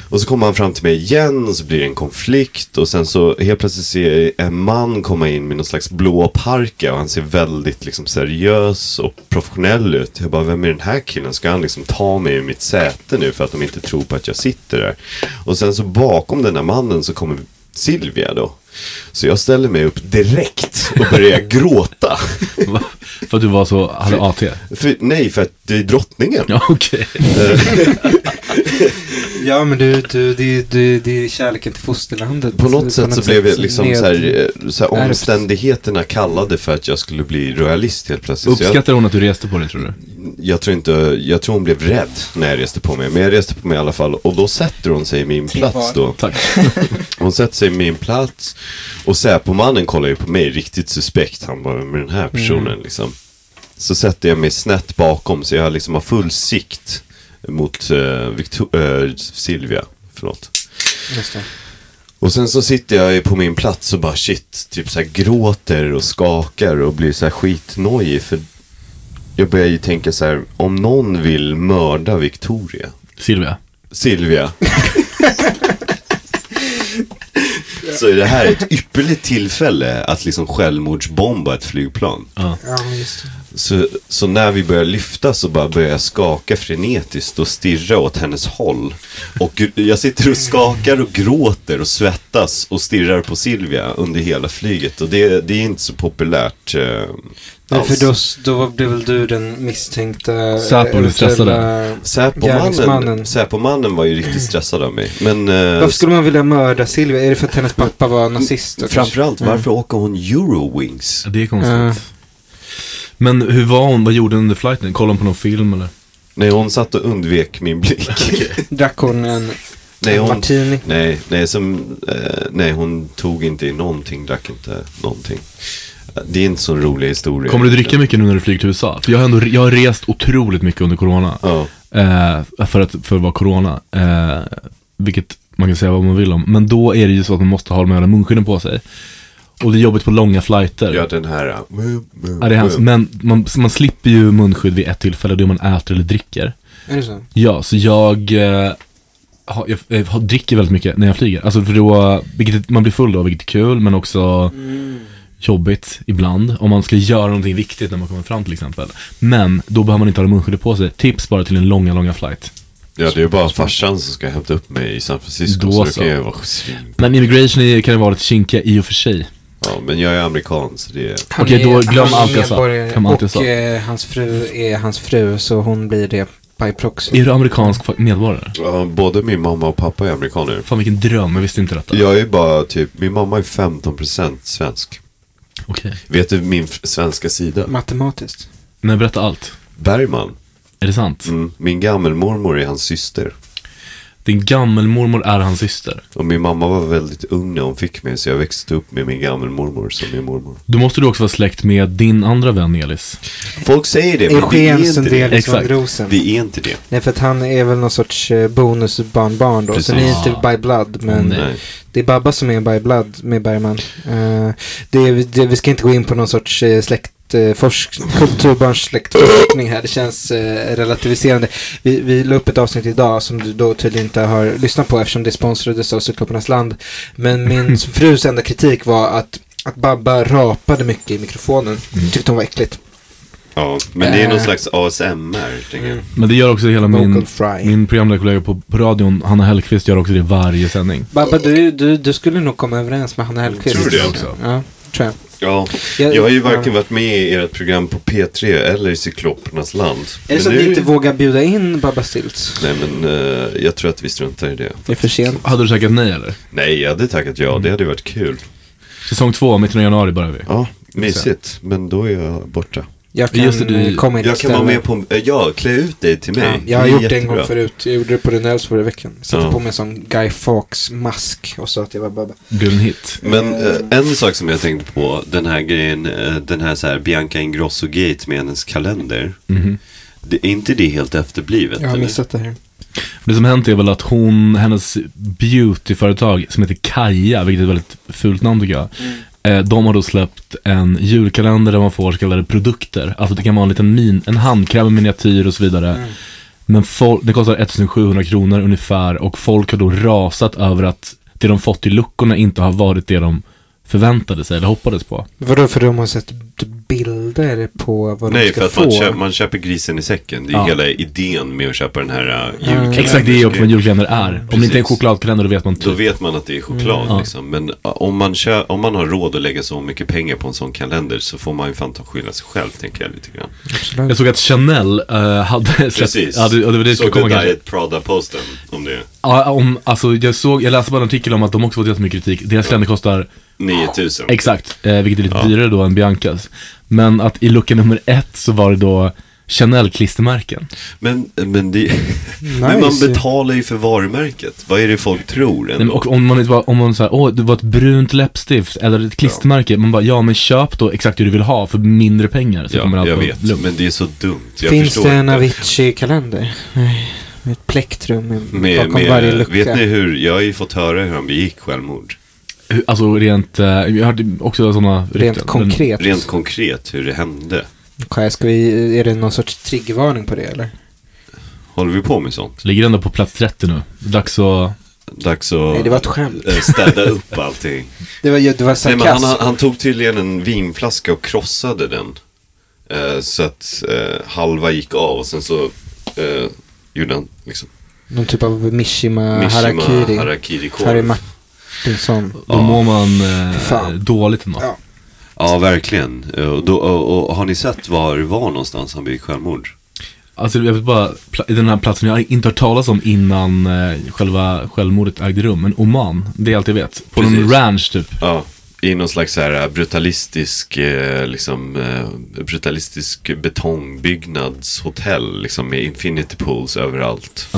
A: Och så kommer han fram till mig igen och så blir det en konflikt och sen så helt plötsligt ser jag en man komma in med någon slags blå parka och han ser väldigt liksom seriös och professionell ut. Jag bara, vem är den här killen? Ska han liksom ta mig ur mitt säte nu för att de inte tror på att jag sitter där? Och sen så bakom den här mannen så kommer Silvia då. Så jag ställer mig upp direkt och börjar gråta. (laughs)
C: Va? För att du var så, hade AT?
A: För, nej, för att det är drottningen.
C: Ja, okej.
B: Ja, men du, du, du, du, det är kärleken till fosterlandet.
A: På något sätt så blev jag liksom
B: ned-
A: så här, eh, så här
B: Ärvt.
A: omständigheterna kallade för att jag skulle bli royalist helt plötsligt. Så jag,
C: Uppskattar hon att du reste på det tror du?
A: jag tror inte, jag tror hon blev rädd när jag reste på mig. Men jag reste på mig i alla fall och då sätter hon sig i min plats
B: barn.
A: då.
C: Tack.
A: Hon sätter sig i min plats och Säpo-mannen kollar ju på mig riktigt suspekt. Han bara, med den här personen
B: Mm.
A: liksom. Så sätter jag mig snett bakom så jag liksom har full sikt mot eh, Victor- eh, Silvia. Förlåt.
B: Just det.
A: Och sen så sitter jag ju på min plats och bara shit, typ så här gråter och skakar och blir så här skitnojig för jag börjar ju tänka så här, om någon vill mörda Victoria,
C: Silvia.
A: Silvia. så är det här ett ypperligt tillfälle att liksom självmordsbomba ett flygplan.
B: Ja, men just det.
A: Så, så när vi börjar lyfta så bara börjar jag skaka frenetiskt och stirra åt hennes håll. Och gr- jag sitter och skakar och gråter och svettas och stirrar på Silvia under hela flyget. Och det, det är inte så populärt eh,
B: Nej,
A: alls.
B: för då, s- då var- blev väl du den misstänkta... eh,
C: Säpo blev
B: eventuella-
C: stressade.
A: Säpomannen,
B: Gärningsmannen. Mm.
A: Säpomannen var ju riktigt stressad av mig. Men, eh,
B: Varför skulle man vilja mörda Silvia? Är det för att hennes pappa var nazist? då, kanske?
A: Framförallt, varför
B: Mm.
A: åker hon Eurowings?
C: Ja, Det är
B: Ja.
C: konstigt. Men hur var hon? Vad gjorde hon under flighten? Kollade hon på någon film eller?
A: Nej, hon satt och undvek min blick.
B: (laughs) Drack hon en,
A: nej,
B: en
A: hon,
B: martini?
A: nej, nej, som, eh, nej, hon tog inte i någonting, drack inte någonting. Eh, Det är inte så en rolig historia.
C: Kommer du dricka mycket nu när du flyger till USA? För jag har, ändå, jag har rest otroligt mycket under corona.
A: Ja.
C: Eh, för, att, för att vara corona. Eh, vilket man kan säga vad man vill om. Men då är det ju så att man måste ha de här munskydden på sig. Och det är jobbigt på långa flighter.
A: Ja, den här. eh,
C: Ja, det är hemskt. Men man, man slipper ju munskydd vid ett tillfälle, det är om man äter eller dricker.
B: Är det så?
C: Ja, så jag, eh, har, jag, jag har, dricker väldigt mycket när jag flyger. Alltså för då, vilket man blir full då, vilket är kul, men också jobbigt ibland. Om man ska göra någonting viktigt när man kommer fram till exempel. Men då behöver man inte ha munskydd på sig. Tips bara till en långa, långa flight.
A: Ja, det är ju bara farsan som ska hämta upp mig i San Francisco,
C: Då
A: så det
C: så.
A: kan jag vara svin.
C: Men immigration är, kan ju vara lite kinkiga i och för sig.
A: Ja, men jag är amerikan, så det är...
B: Han
C: Okej, då
B: är-
C: glöm
B: han är
C: allt jag sa.
B: medborgare
C: Glöm allt jag
B: och
C: sa.
B: eh, hans fru är hans fru, så hon blir det by proxy.
C: Är du amerikansk fa- medborgare?
A: Ja, både min mamma och pappa är amerikaner.
C: Fan vilken dröm, jag visste inte detta.
A: Jag är ju bara typ, min mamma är 15% svensk.
C: Okej.
A: Vet du min f- svenska sida?
B: Matematiskt.
C: Nej, berätta allt.
A: Bergman.
C: Är det sant?
A: Mm. Min gammelmormor är hans syster.
C: Din gammelmormor är hans syster.
A: Och min mamma var väldigt ung när hon fick mig så jag växte upp med min gammelmormor som min mormor.
C: Då måste du också vara släkt med din andra vän Elis.
A: Folk säger det, men det är
B: Eugen
A: inte det.
B: Sundelius
C: Exakt.
B: van Rosen.
A: Det är inte det.
B: Nej, för att han är väl någon sorts eh, bonusbarnbarn då. Så ni är
C: Precis.
B: inte by blood, men
C: Nej.
A: Nej.
B: det är Babba som är by blood med Bergman. Eh, det, det, vi ska inte gå in på någon sorts eh, släkt eh, forsk, kulturbarns släktforskning här. Det känns eh, relativiserande. Vi, vi la upp ett avsnitt idag som du då tydligen inte har lyssnat på eftersom det sponsrades av Cykloppernas land. Men
C: (laughs)
B: min frus enda kritik var att, att Babba rapade mycket i mikrofonen.
C: Mm.
B: Tyckte hon var äckligt.
A: Ja, men det är någon
B: Äh.
A: slags ASMR, tänker
B: Mm.
A: jag.
C: Men det gör också hela
B: Vocal
C: min,
B: fry.
C: min programledarkollega på, på radion, Hanna Hellquist, gör också det varje sändning.
B: Babba, du, du, du skulle nog komma överens med Hanna Hellquist.
A: Tror du det?
C: också?
B: Ja, tror jag.
A: Ja, jag har ju varken varit med i ert program på P3 eller i Cyklopernas land.
B: Är det så att ni inte vågar bjuda in Babba Stilts?
A: Nej, men eh, jag tror att vi struntar i det.
B: Det är för sent.
C: Hade du tackat nej eller?
A: Nej, jag hade tackat ja.
B: Mm.
A: Det hade ju varit kul.
C: Säsong två, mitten av januari börjar vi.
A: Ja, mysigt. Men då är jag borta.
B: Jag kan
C: Just det, du-
B: eh, komma in
A: Jag kan
B: istället.
A: vara med på... eh, Ja, klä ut dig till mig.
B: Ja, jag har
A: Det är
B: gjort det en
A: jättebra.
B: gång förut. Jag gjorde det på Rönnells förra veckan. Satte
A: Ja.
B: på mig en sån Guy Fawkes-mask och sa att jag var Babba.
C: Blir en hit.
A: Men eh, en sak som jag tänkte
C: Mhm.
A: på, den här grejen, eh, den här så här Bianca Ingrosso-gate med hennes kalender. Det, är inte det helt efterblivet?
B: Jag har
A: eller?
B: missat det här.
C: Det som hänt är väl att hon, hennes beautyföretag som heter Kaja, vilket är ett väldigt fult namn tycker jag. eh, De har då släppt en julkalender där man får så kallade produkter. Alltså det kan vara en liten min, en handkräm i miniatyr och så vidare.
B: Mm.
C: Men folk, det kostar 1700 kronor ungefär och folk har då rasat över att det de fått i luckorna inte har varit det de förväntade sig eller hoppades på.
B: Vadå, för de har sett bilder på vad de
A: Nej,
B: ska
A: för att
B: få?
A: man, köp, man köper grisen i säcken. Det är
C: Ja.
A: hela idén med att köpa den här äh,
B: Mm.
A: julkalendern.
C: Exakt, det är ju också vad en julkalender är. Om det inte är en
A: Precis.
C: chokladkalender då vet man
A: Då
C: typ.
A: vet man att det är choklad
C: Mm.
A: liksom. Men äh, om man, kö- om man har råd att lägga så mycket pengar på en sån kalender så får man ju fan ta skylla sig själv, tänker jag lite grann.
B: Absolut.
C: Jag såg att Chanel eh, hade
A: Precis.
C: släppt, ja, det, ja, det var det jag skulle
A: Såg
C: komma
A: du
C: kanske.
A: Diet Prada-posten om det?
C: Ja, om, alltså jag såg, jag läste bara en artikel om att de också fått jättemycket kritik. Deras kalender kostar
A: 9000.
C: Exakt, eh, vilket är lite dyrare då än Biancas. Men att i lucka nummer ett så var det då Chanel-klistermärken.
A: Men, men det... (laughs) Men man
B: Nice.
A: betalar ju för varumärket. Vad är det folk tror
C: Nej, men
A: ändå?
C: Och om man inte bara, om man såhär, åh det var ett brunt läppstift eller ett klistermärke. Man bara, ja men köp då exakt det du vill ha för mindre pengar. Så kommer
A: Ja,
C: allt
A: jag
C: vara
A: vet.
C: lugnt.
A: Men det är så dumt. Jag
B: Finns
A: förstår
B: det en
A: inte.
B: Avicii-kalender? Nej, med ett plektrum i-
A: med,
B: bakom
A: med,
B: varje lucka.
A: Vet ni hur, jag har ju fått höra hur han begick självmord.
C: Hur- Alltså rent, eh, jag hörde också sådana rykten.
B: Rent
C: Men-
B: konkret.
A: Rent konkret hur det hände.
B: Kaj, ska vi, är det någon sorts triggervarning på det eller?
A: Håller vi på med sånt?
C: Ligger ändå på plats 30 nu. Dags att...
A: Dags att
B: Nej, det var ett skämt.
A: eh, städa upp
B: (laughs)
A: allting.
B: Det var, det var
A: Nej, men han,
B: sarkasm.
A: han han tog tydligen en vinflaska och krossade den. Eh, så att eh, halva gick av och sen så eh, gjorde han liksom
B: Någon typ av Mishima,
A: Mishima
B: Harakiri. Harry
A: harakiri-korv.
B: Martinsson.
C: Då mår man eh,
B: Fan.
C: dåligt ändå.
B: Ja.
A: Ja, verkligen. Eh, Och, då, och, och har ni sett var det var någonstans han begick självmord?
C: Alltså jag vet bara, pla- den här platsen jag inte hört talas om innan eh, själva självmordet ägde rum, men Oman, det är allt jag vet. På någon
A: Precis.
C: ranch typ.
A: Ja, i någon slags så här eh, brutalistisk, eh, liksom, eh, brutalistisk betongbyggnadshotell liksom med infinity pools överallt.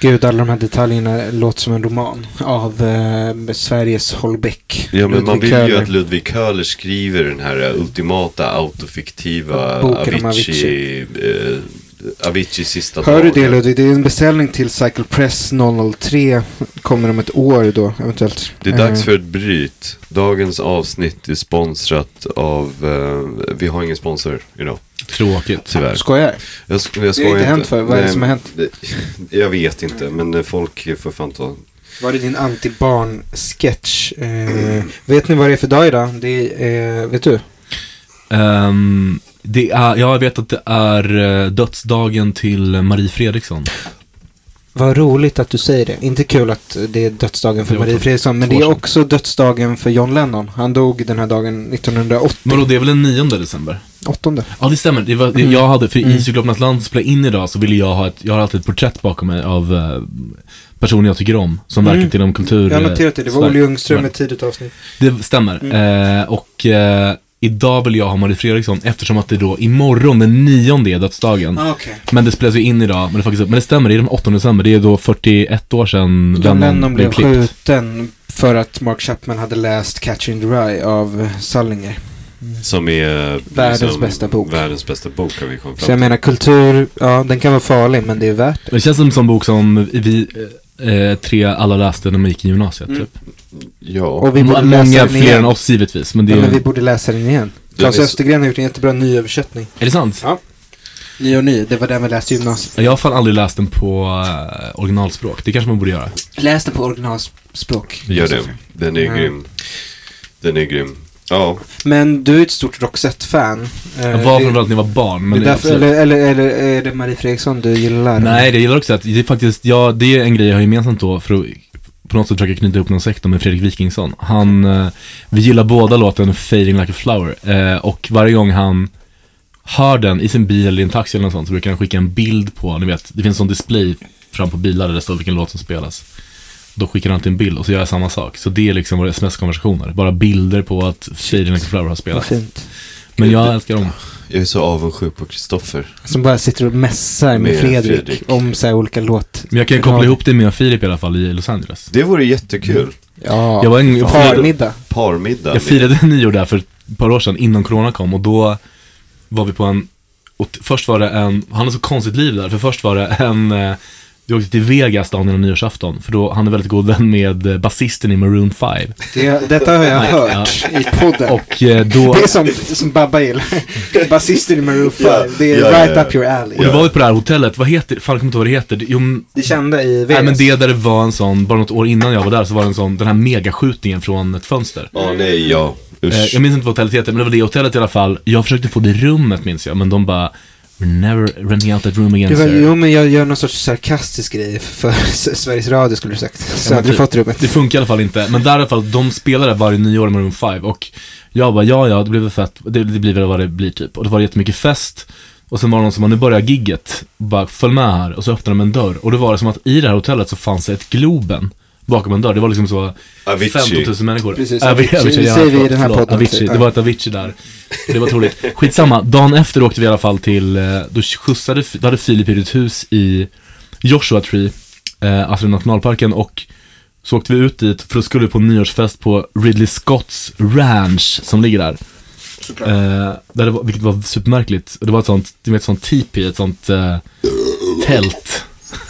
B: Gud, alla de här detaljerna låter som en roman av eh, Sveriges Holbeck.
A: Ja, men man
B: Ludvig
A: vill ju
B: Köhler.
A: att Ludvig Köhler skriver den här eh, ultimata autofiktiva
B: Boken om
A: Avicii, Avicii. Eh, Avicii sista
B: Hör du det
A: dagen.
B: Ludvig? Det är en beställning till Cycle Press 003. Kommer om ett år då, eventuellt. Eh,
A: Det är dags för ett bryt. Dagens avsnitt är sponsrat av, eh, vi har ingen sponsor idag,
C: Tråkigt.
A: tyvärr.
B: Skojar?
A: Jag, sk- jag
B: Det
A: skojar
B: har inte hänt för. Vad är det
A: Nej,
B: som har hänt?
A: det- Jag vet inte, men eh, folk får fan ta
B: Var det din anti-barn-sketch? Eh, vet ni vad det är för dag idag? Det är, eh, vet du?
C: Ehm, det är, jag vet att det är eh, dödsdagen till Marie Fredriksson.
B: Vad roligt att du säger det. Inte kul att det är dödsdagen för
C: Det var
B: Marie
C: två-
B: Fredriksson, men
C: två
B: det är
C: år sedan.
B: också dödsdagen för John Lennon. Han dog den här dagen 1980.
C: Men då, det är väl den 9 december?
B: Åttonde.
C: Ja, det stämmer. Det var,
B: Mm.
C: det, jag hade, för i Cyklopernas land som spelade in idag så ville jag ha ett, jag har alltid ett porträtt bakom mig av eh, personer jag tycker om, som
B: Mm.
C: verkar inom kultur. eh,
B: Jag har noterat det. Det var
C: Sverige.
B: Olle Ljungström i ett tidigt avsnitt.
C: Det stämmer.
B: Mm.
C: Eh, och eh, idag vill jag ha Marie Fredriksson eftersom att det då imorgon den nionde är dödsdagen.
B: Ah, Okej.
C: Men det spelas ju in idag, men det, faktiskt, men det stämmer, det är den 8 december, det är då 41 år sedan
B: John Lennon blev skjuten för att Mark Chapman hade läst Catch in the Rye av eh, Salinger.
A: Som är eh,
B: Världens bästa bok.
A: Världens bästa bok har vi kommit
B: Så
A: fram
B: jag
A: till.
B: menar kultur, ja den kan vara farlig men det är värt
C: Det känns som en sån bok som vi eh, eh, tre alla läste när man gick i gymnasiet,
B: Mm.
C: typ.
A: Ja.
B: Och vi borde läsa
C: Många
B: den
C: fler
B: igen.
C: än oss givetvis, men det
B: Ja,
C: är,
B: men vi borde läsa den igen. Claes
A: är så-
B: Östergren har gjort en jättebra nyöversättning.
C: är det sant?
B: Ja. Ny och ny, det var den vi läste i gymnasiet.
C: Jag har fan aldrig läst den på eh, originalspråk, det kanske man borde göra.
B: Läs den på originalspråk.
A: Gör det. Den är
B: Ja.
A: grym. Den är grym. Ja,
B: Men du är ett stort Roxette-fan. Eh,
C: Jag
B: det-
C: var framförallt när jag var barn,
B: det är
C: men
B: därför,
C: absolut-
B: eller, eller, eller är det Marie Fredriksson du gillar?
C: Nej, det gillar jag också att det är faktiskt, ja, det är en grej jag har gemensamt då för att på något sätt försöka knyta ihop någon sektor med Fredrik Wikingsson. Han, eh, vi gillar båda låten Fading Like a Flower eh, och varje gång han hör den i sin bil eller i en taxi eller något sånt så brukar han skicka en bild på, ni vet, det finns en sån display fram på bilar där det står vilken låt som spelas. Då skickar han alltid en bild och så gör jag samma sak. Så det är liksom våra sms-konversationer, bara bilder på att Fading Like a Flower har
B: Vad
C: spelats.
B: fint.
C: Men jag älskar dem.
A: jag är så avundsjuk på Kristoffer.
B: Som bara sitter och mässar med,
A: Med
B: Fredrik,
A: Fredrik.
B: om så här olika låt.
C: Men jag kan koppla ihop det med Filip i alla fall i Los Angeles.
A: Det vore
B: Mm.
A: jättekul.
B: Ja,
C: Jag var en-
B: parmiddag.
A: Parmiddag.
C: (laughs) Jag firade nyår där för ett par år sedan innan corona kom och då var vi på en Och t- först var det en, han har så konstigt liv där, för först var det en, eh, vi åkte till Vegas dagen innan nyårsafton, för då, han är väldigt god vän med eh, basisten i Maroon 5.
B: Det, detta har jag hört i podden.
C: Och eh,
B: (laughs)
C: då...
B: Det är som, som Babba gillar. (laughs) Basisten i Maroon 5.
A: Ja,
B: Det är
A: ja, ja,
B: right
A: ja.
B: up your alley.
C: Och det var vi på det här hotellet, vad heter fan jag kommer inte ihåg vad det heter. Jo, men-
B: Det kände i
C: nej
B: Vegas.
C: men det där det var en sån, bara något år innan jag var där så var det en sån, den här megaskjutningen från ett fönster.
D: Åh nej, ja.
C: Eh,
D: Usch.
C: jag minns inte vad hotellet heter, men det var det hotellet i alla fall. Jag försökte få det rummet minns jag, men de bara, we're never renting out that room again
B: Det var,
C: sir.
B: jo, men jag gör någon sorts sarkastisk grej för (laughs) S- Sveriges Radio skulle du sagt. Så
C: men
B: hade du
C: typ.
B: fått rummet.
C: Det funkar i alla fall inte. Men där i alla fall, de spelar där varje nyår med Room 5 och jag bara, ja ja, det blir väl fett, det, det blir väl vad det blir typ. Och det var jättemycket fest. Och sen var det någon som bara, nu börjar gigget. Bara, följ med här. Och så öppnade de en dörr. Och då var det som att i det här hotellet så fanns det ett Globen bakom en dörr. Det var liksom så
A: Avicii.
C: 15 000 människor.
B: Precis,
C: Avi-
B: Avicii. Det
C: ja,
B: säger vi i
C: förlåt,
B: den här
C: förlåt,
B: podden. typ.
C: Avicii. Det var ett Avicii där. Det var otroligt. Skitsamma, dagen efter åkte vi i alla fall till, eh, då skjutsade, Fi- då hade Filip hyrt ett hus i Joshua Tree, eh, alltså i nationalparken och så åkte vi ut dit för då skulle vi på nyårsfest på Ridley Scotts Ranch som ligger där. Eh, där det var, vilket var supermärkligt. Det var ett sånt, du vet, sånt tipi, ett sånt eh, tält. (laughs)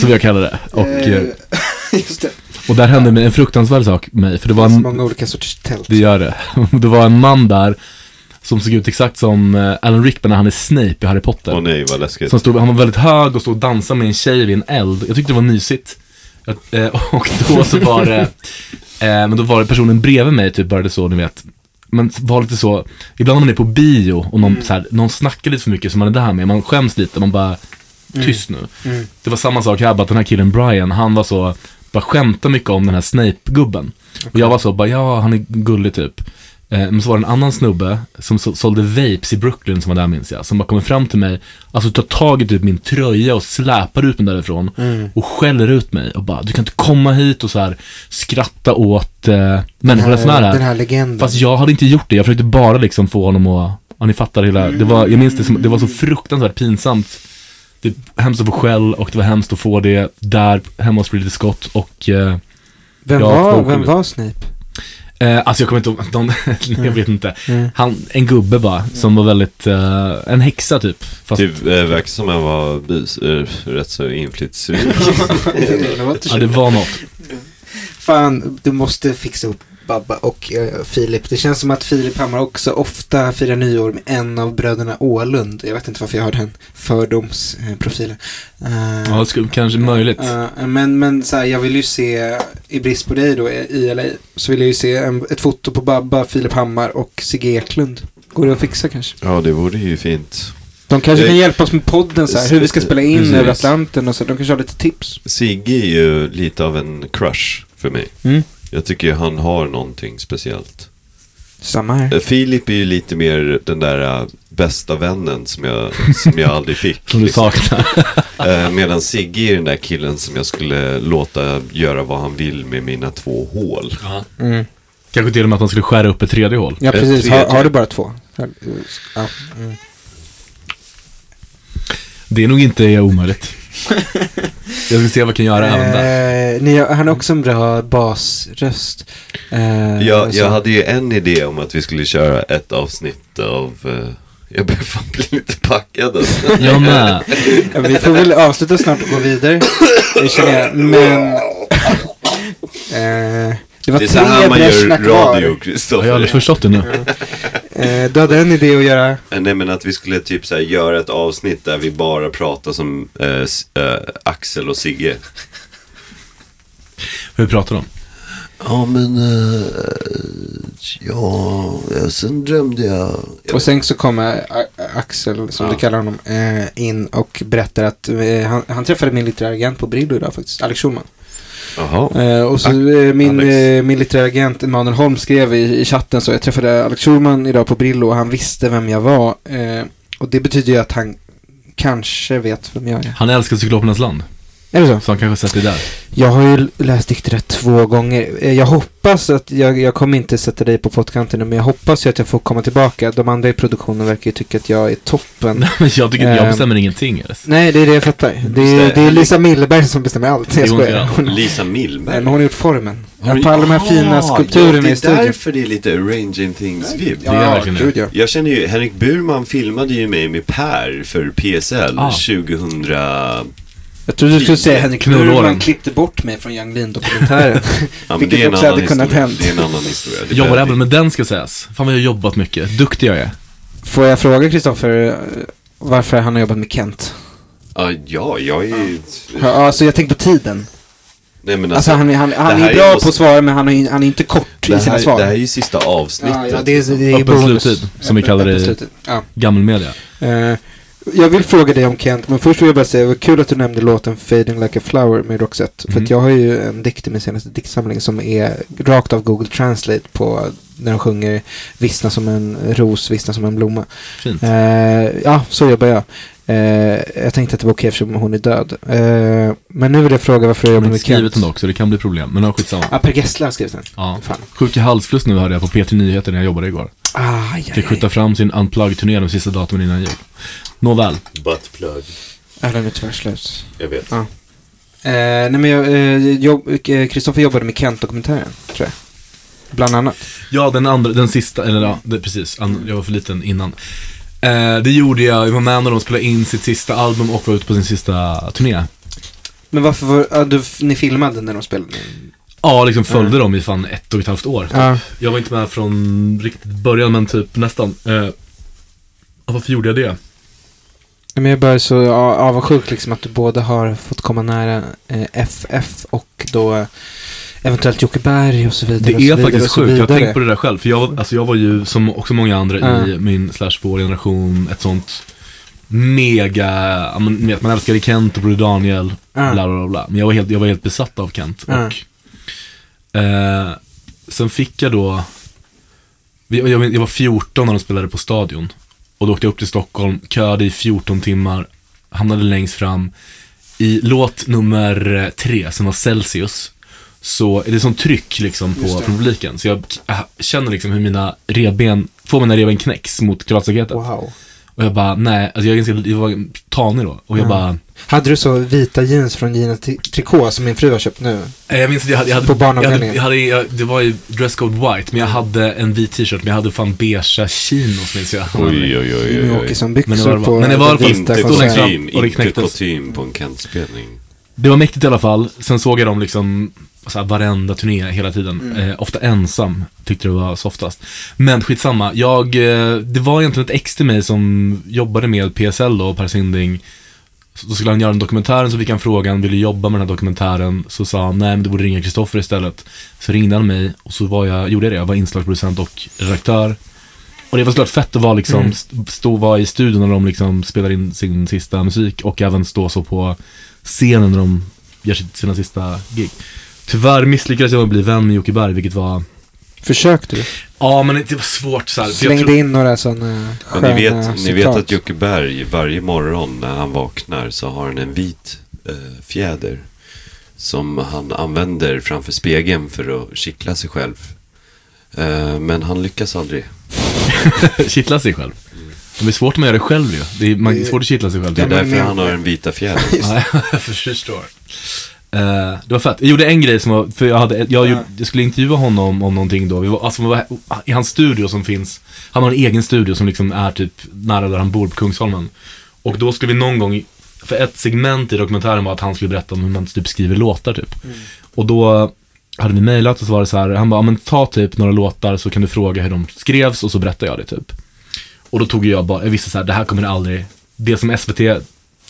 C: som jag kallar det. Och, eh,
B: (laughs) Just det.
C: och där hände mig en fruktansvärd sak med mig, för det var
B: Så
C: en,
B: Alltså, många olika sorters tält.
C: det gör det. (laughs) Det var en man där som såg ut exakt som eh, Alan Rickman när han är Snape i Harry Potter.
A: Åh nej, vad läskigt.
C: Som stod, han var väldigt hög och stod och dansade med en tjej vid en eld. Jag tyckte det var mysigt. Att, eh, (laughs) och då så var det, eh, men då var det personen bredvid mig typ började så, ni vet. Men var lite så, ibland när man är på bio och
B: Mm.
C: någon, så här, någon snackar lite för mycket som man är där med, man skäms lite, man bara, tyst nu.
B: Mm.
C: Det var samma sak här, bara att den här killen Brian, han var så, bara skämta mycket om den här Snape-gubben. Och jag var så, bara ja, han är gullig typ. Eh, Men så var det en annan snubbe som så- sålde vapes i Brooklyn som var där minns jag, som bara kommer fram till mig, alltså tar tag i typ min tröja och släpar ut mig därifrån
B: Mm.
C: och skäller ut mig och bara, du kan inte komma hit och så här skratta åt eh, människorna som är här.
B: Den här legenden.
C: Fast jag hade inte gjort det, jag försökte bara liksom få honom att, ja ni fattar hela, det var, jag minns det som, det var så fruktansvärt pinsamt. Det var hemskt att få skäll och det var hemskt att få det där hemma hos Ridley Scott och, eh,
B: vem,
C: jag
B: var,
C: tror-
B: vem var Snape?
C: eh, alltså jag kommer inte ihåg, (laughs) de, jag vet inte.
B: Mm.
C: Han, en gubbe bara, som var väldigt, eh, en häxa typ. Fast,
A: Typ, eh, verkar som han var bis, eh, rätt så
C: (laughs)
A: inflytelserik.
B: Det var inte
C: ja det var något.
B: Fan, du måste fixa upp Babba och eh, Filip. Det känns som att Filip Hammar också ofta firar nyår med en av bröderna Ålund. Jag vet inte varför jag har den fördomsprofilen. Eh,
C: Ja, det skulle, kanske möjligt.
B: eh, men men så här, jag vill ju se, i brist på dig då i- i LA, så vill jag ju se en, ett foto på Babba, Filip Hammar och Sigge Eklund. Går det att fixa kanske?
A: ja, det vore ju fint.
B: De kanske kan
A: Eh,
B: hjälpa oss med podden så här, hur vi ska spela in
A: precis.
B: över Atlanten och så. De kanske har lite tips.
A: Sigge är ju lite av en crush för mig.
B: Mm.
A: Jag tycker ju han har någonting speciellt.
B: Samma här.
A: Eh, Filip är ju lite mer den där eh, bästa vännen som jag, som jag aldrig fick.
C: (laughs)
A: liksom.
C: Som du saknar.
A: Eh, Medan Sigge är den där killen som jag skulle låta göra vad han vill med mina två hål.
B: Mm.
C: Kanske till och med att man skulle skära upp ett tredje hål.
B: Ja,
A: Ett
B: precis. Har,
A: tredje.
B: har du bara två? Ja. Mm.
C: Det är nog inte omöjligt. Jag ska se vad jag kan göra även där.
B: Eh, ni, han har också en bra basröst. Eh,
A: Jag,
B: så-
A: jag hade ju en idé om att vi skulle köra ett avsnitt av... eh, Jag börjar fan bli lite packad alltså.
C: (laughs) Jag med.
B: Ja, Vi får väl avsluta snart och gå vidare. Det känner jag. Men... eh, det var
A: Det är så
B: tre
A: här man gör
B: bräschna
A: radio,
B: kvar.
C: Jag har aldrig
A: Kristoffer.
C: förstått det nu.
B: Eh, du hade en idé att göra.
D: Eh,
A: Nej men att vi skulle typ så här göra ett avsnitt där vi bara pratar som eh, s- eh, Axel och Sigge.
C: Hur pratar de?
D: Ja, men... eh, ja, eh, sen drömde jag...
B: Och sen så kommer A- Axel, som du kallar honom, eh, in och berättar att eh, han, han träffade min litterära agent på Brillo idag faktiskt, Alex Schulman.
A: Jaha.
B: Eh, och så eh, min, eh, min litterära agent Emanuel Holm skrev i, i chatten så jag träffade Alex Schulman idag på Brillo och han visste vem jag var. Eh, och det betyder ju att han kanske vet vem jag är.
C: Han älskar Cyklopernas land.
B: Är det så?
C: Så han kanske sett det där.
B: Jag har ju läst dikter två gånger. Eh, Jag hoppas att, jag, jag kommer inte sätta dig på pottkanten nu, men jag hoppas ju att jag får komma tillbaka. De andra i produktionen verkar ju tycka att jag är toppen.
C: Nej, men jag tycker inte, jag
B: Ehm,
C: bestämmer ingenting. eller?
B: Nej, det är det jag fattar. Det är, det är Lisa Milleberg som bestämmer allt. Jag
C: Det är hon
B: skojar.
C: som
B: Hon,
D: Lisa
B: nej, men
D: Milberg.
B: hon har gjort formen.
D: Har du-
B: På alla de här fina
D: Ah,
B: skulpturerna i
D: Det är
B: studion.
D: därför det är lite arranging things-vibb.
C: Det är verkligen det.
B: gud ja.
D: Jag känner ju, Henrik Burman filmade ju mig med Per för PSL
C: Ah.
D: 2000
B: Jag trodde du skulle säga Henrik
C: Knullåren.
B: Burman klippte bort mig från Young Lean-dokumentären.
D: Ja, men
B: Vilket
D: det är en
B: också
D: annan
B: hade kunnat
D: historia.
B: hänt.
D: Det är en annan historia. Det
C: Jag jobbar
D: behöver
C: även med den ska sägas. Fan vad jag har jobbat mycket. Duktig jag är.
B: (laughs) Får jag fråga Kristoffer eh, varför han har jobbat med Kent?
D: Ja, ja, jag är ju...
B: Ja, Alltså jag tänker på tiden.
D: Nej men
B: Alltså
D: alltså,
B: han, är- han, han
D: det här
B: är
D: är
B: bra
D: måste-
B: på att svara men han är, han är inte kort
D: det,
B: i sina
D: här,
B: svar.
D: det här är ju sista avsnittet.
B: ja, ja, det är, det är
C: Öppen
B: bonus.
C: sluttid, som vi kallar det i-
B: Öppen sluttid, Ja.
C: Gammelmedia.
B: Eh, jag vill fråga dig om Kent, men först vill jag bara säga, det var kul att du nämnde låten Fading Like a Flower med Roxette. För
C: Mm.
B: att jag har ju en dikt i min senaste diktsamling som är rakt av Google Translate på när de sjunger Vissna som en ros, vissna som en blomma.
C: Fint.
B: Eh, ja, så jobbar jag. Eh, jag tänkte att det var okej eftersom hon är död. Eh, men nu vill jag fråga varför jag
C: Jag har
B: jobbar
C: inte
B: med
C: skrivit
B: Kent.
C: den dock, så det kan bli problem. Men ja, skitsamma.
B: Ja, Per Gessle har skrivit den.
C: Ja.
B: Fan.
C: Sjuk i halsfluss nu hörde jag på P3 Nyheter när jag jobbade igår.
B: Ah, aj,
C: Fick skjuta fram sin unplug-turné de sista datumen innan jul. Nåväl.
D: Butt plug.
B: Ja, den är tyvärr slut.
D: Jag vet.
B: Eh, nej, men jag, eh, jobb, eh, Kristoffer jobbade med Kent-dokumentären, tror jag. Bland annat.
C: Ja, den andra, den sista, eller ja, det, precis. An, jag var för liten innan. Eh, det gjorde jag, jag var med när de spelade in sitt sista album och var ute på sin sista turné.
B: Men varför var, ja, du, ni filmade när de spelade? in?
C: Ja, liksom följde dem i fan ett och ett halvt år.
B: Mm. Ja.
C: Jag var inte med från riktigt början, men typ nästan. Eh, ja, varför gjorde jag det?
B: Men jag är bara så ja, avundsjuk liksom att du både har fått komma nära eh, FF och då eh, eventuellt Jocke Berg och så vidare. och
C: Det
B: så
C: är
B: vidare
C: faktiskt
B: och så
C: sjukt, jag har
B: vidare.
C: tänkt på det där själv. För jag var, alltså jag var ju, som också många andra i min slash vår generation, ett sånt mega, ja, men, ni vet, man älskade Kent och Broder Daniel,
B: Ja.
C: bla, bla bla bla. Men jag var helt, jag var helt besatt av Kent.
B: Ja.
C: Och, eh, sen fick jag då, vi- jag, jag, jag var 14 när de spelade på Stadion. Och då åkte jag upp till Stockholm, köade i 14 timmar, hamnade längst fram. I låt nummer eh, tre, som var Celsius, så är det sånt tryck liksom på publiken. Så jag k- äh, känner liksom hur mina revben, två av mina revben knäcks mot kravallstaketet.
B: Wow.
C: Och jag bara, nej, alltså jag, är ganska, jag var tanig då. Och jag
B: Mm.
C: bara,
B: Hade du så vita jeans från Gina Tri- Tricot som min fru har köpt nu?
C: Nej, Eh, Jag minns att jag hade, jag hade,
B: På
C: jag hade,
B: barnavdelningen.
C: jag hade jag, det var ju dresscode white, men jag hade en vit t-shirt, men jag hade fan beigea chinos minns jag.
D: Oj, oj, oj, oj,
B: Jimmy
D: oj.
B: Åkesson-byxor
C: Men det var-
B: på
C: men det var i alla
B: den
C: fall-
B: vita
D: Inte
C: Stod längst
B: konserten.
C: fram
D: kutym,
C: och det
D: inte
C: knäcktes.
D: kutym på en Kent-spelning.
C: Det var mäktigt i alla fall, sen såg jag dem liksom så här, varenda turné hela tiden. Eh, ofta ensam, tyckte det var softast. Men skitsamma, jag, eh, det var egentligen ett ex till mig som jobbade med PSL då, Per Sinding. Så då skulle han göra en dokumentär, så fick han frågan, vill du jobba med den här dokumentären? Så sa han, nej men du borde ringa Kristoffer istället. Så ringde han mig och så var jag, gjorde jag det, jag var inslagsproducent och redaktör. Och det var såklart fett att vara liksom,
B: Mm.
C: st- stå och vara i studion när de liksom spelar in sin sista musik och även stå så på scenen när de gör sitt- sina sista gig. Tyvärr misslyckades jag med att bli vän med Jocke Berg, vilket var...
B: Försökte du?
C: Ja, men det var svårt så här. för jag
B: Slängde
C: tror-
B: in några sådana
D: Men
B: sköna
D: ni vet, ni vet
B: citat.
D: att Jocke Berg varje morgon när han vaknar så har han en vit eh, fjäder. Som han använder framför spegeln för att kittla sig själv. Eh, men han lyckas aldrig.
C: (laughs) kittla sig själv. Det är svårt om man gör det själv ju. Det är, man, det är svårt att kittla sig själv.
D: Det är
B: men
D: därför
B: men-
D: han har den vita
B: (laughs)
D: fjädern.
C: Ja, (laughs) jag förstår. Eh, det var fett. Jag gjorde en grej som var, för jag, hade, jag, gjorde- jag skulle intervjua honom om någonting då. Vi var, alltså, vi var i hans studio som finns, han har en egen studio som liksom är typ nära där han bor på Kungsholmen. Och då skulle vi någon gång, för ett segment i dokumentären var att han skulle berätta om hur man typ skriver låtar typ. Och då hade vi mejlat och så var det så här, han bara, "Ja, men ta typ några låtar så kan du fråga hur de skrevs och så berättar jag det typ. Och då tog jag bara, jag visste så här, det här kommer det aldrig, det som SVT, det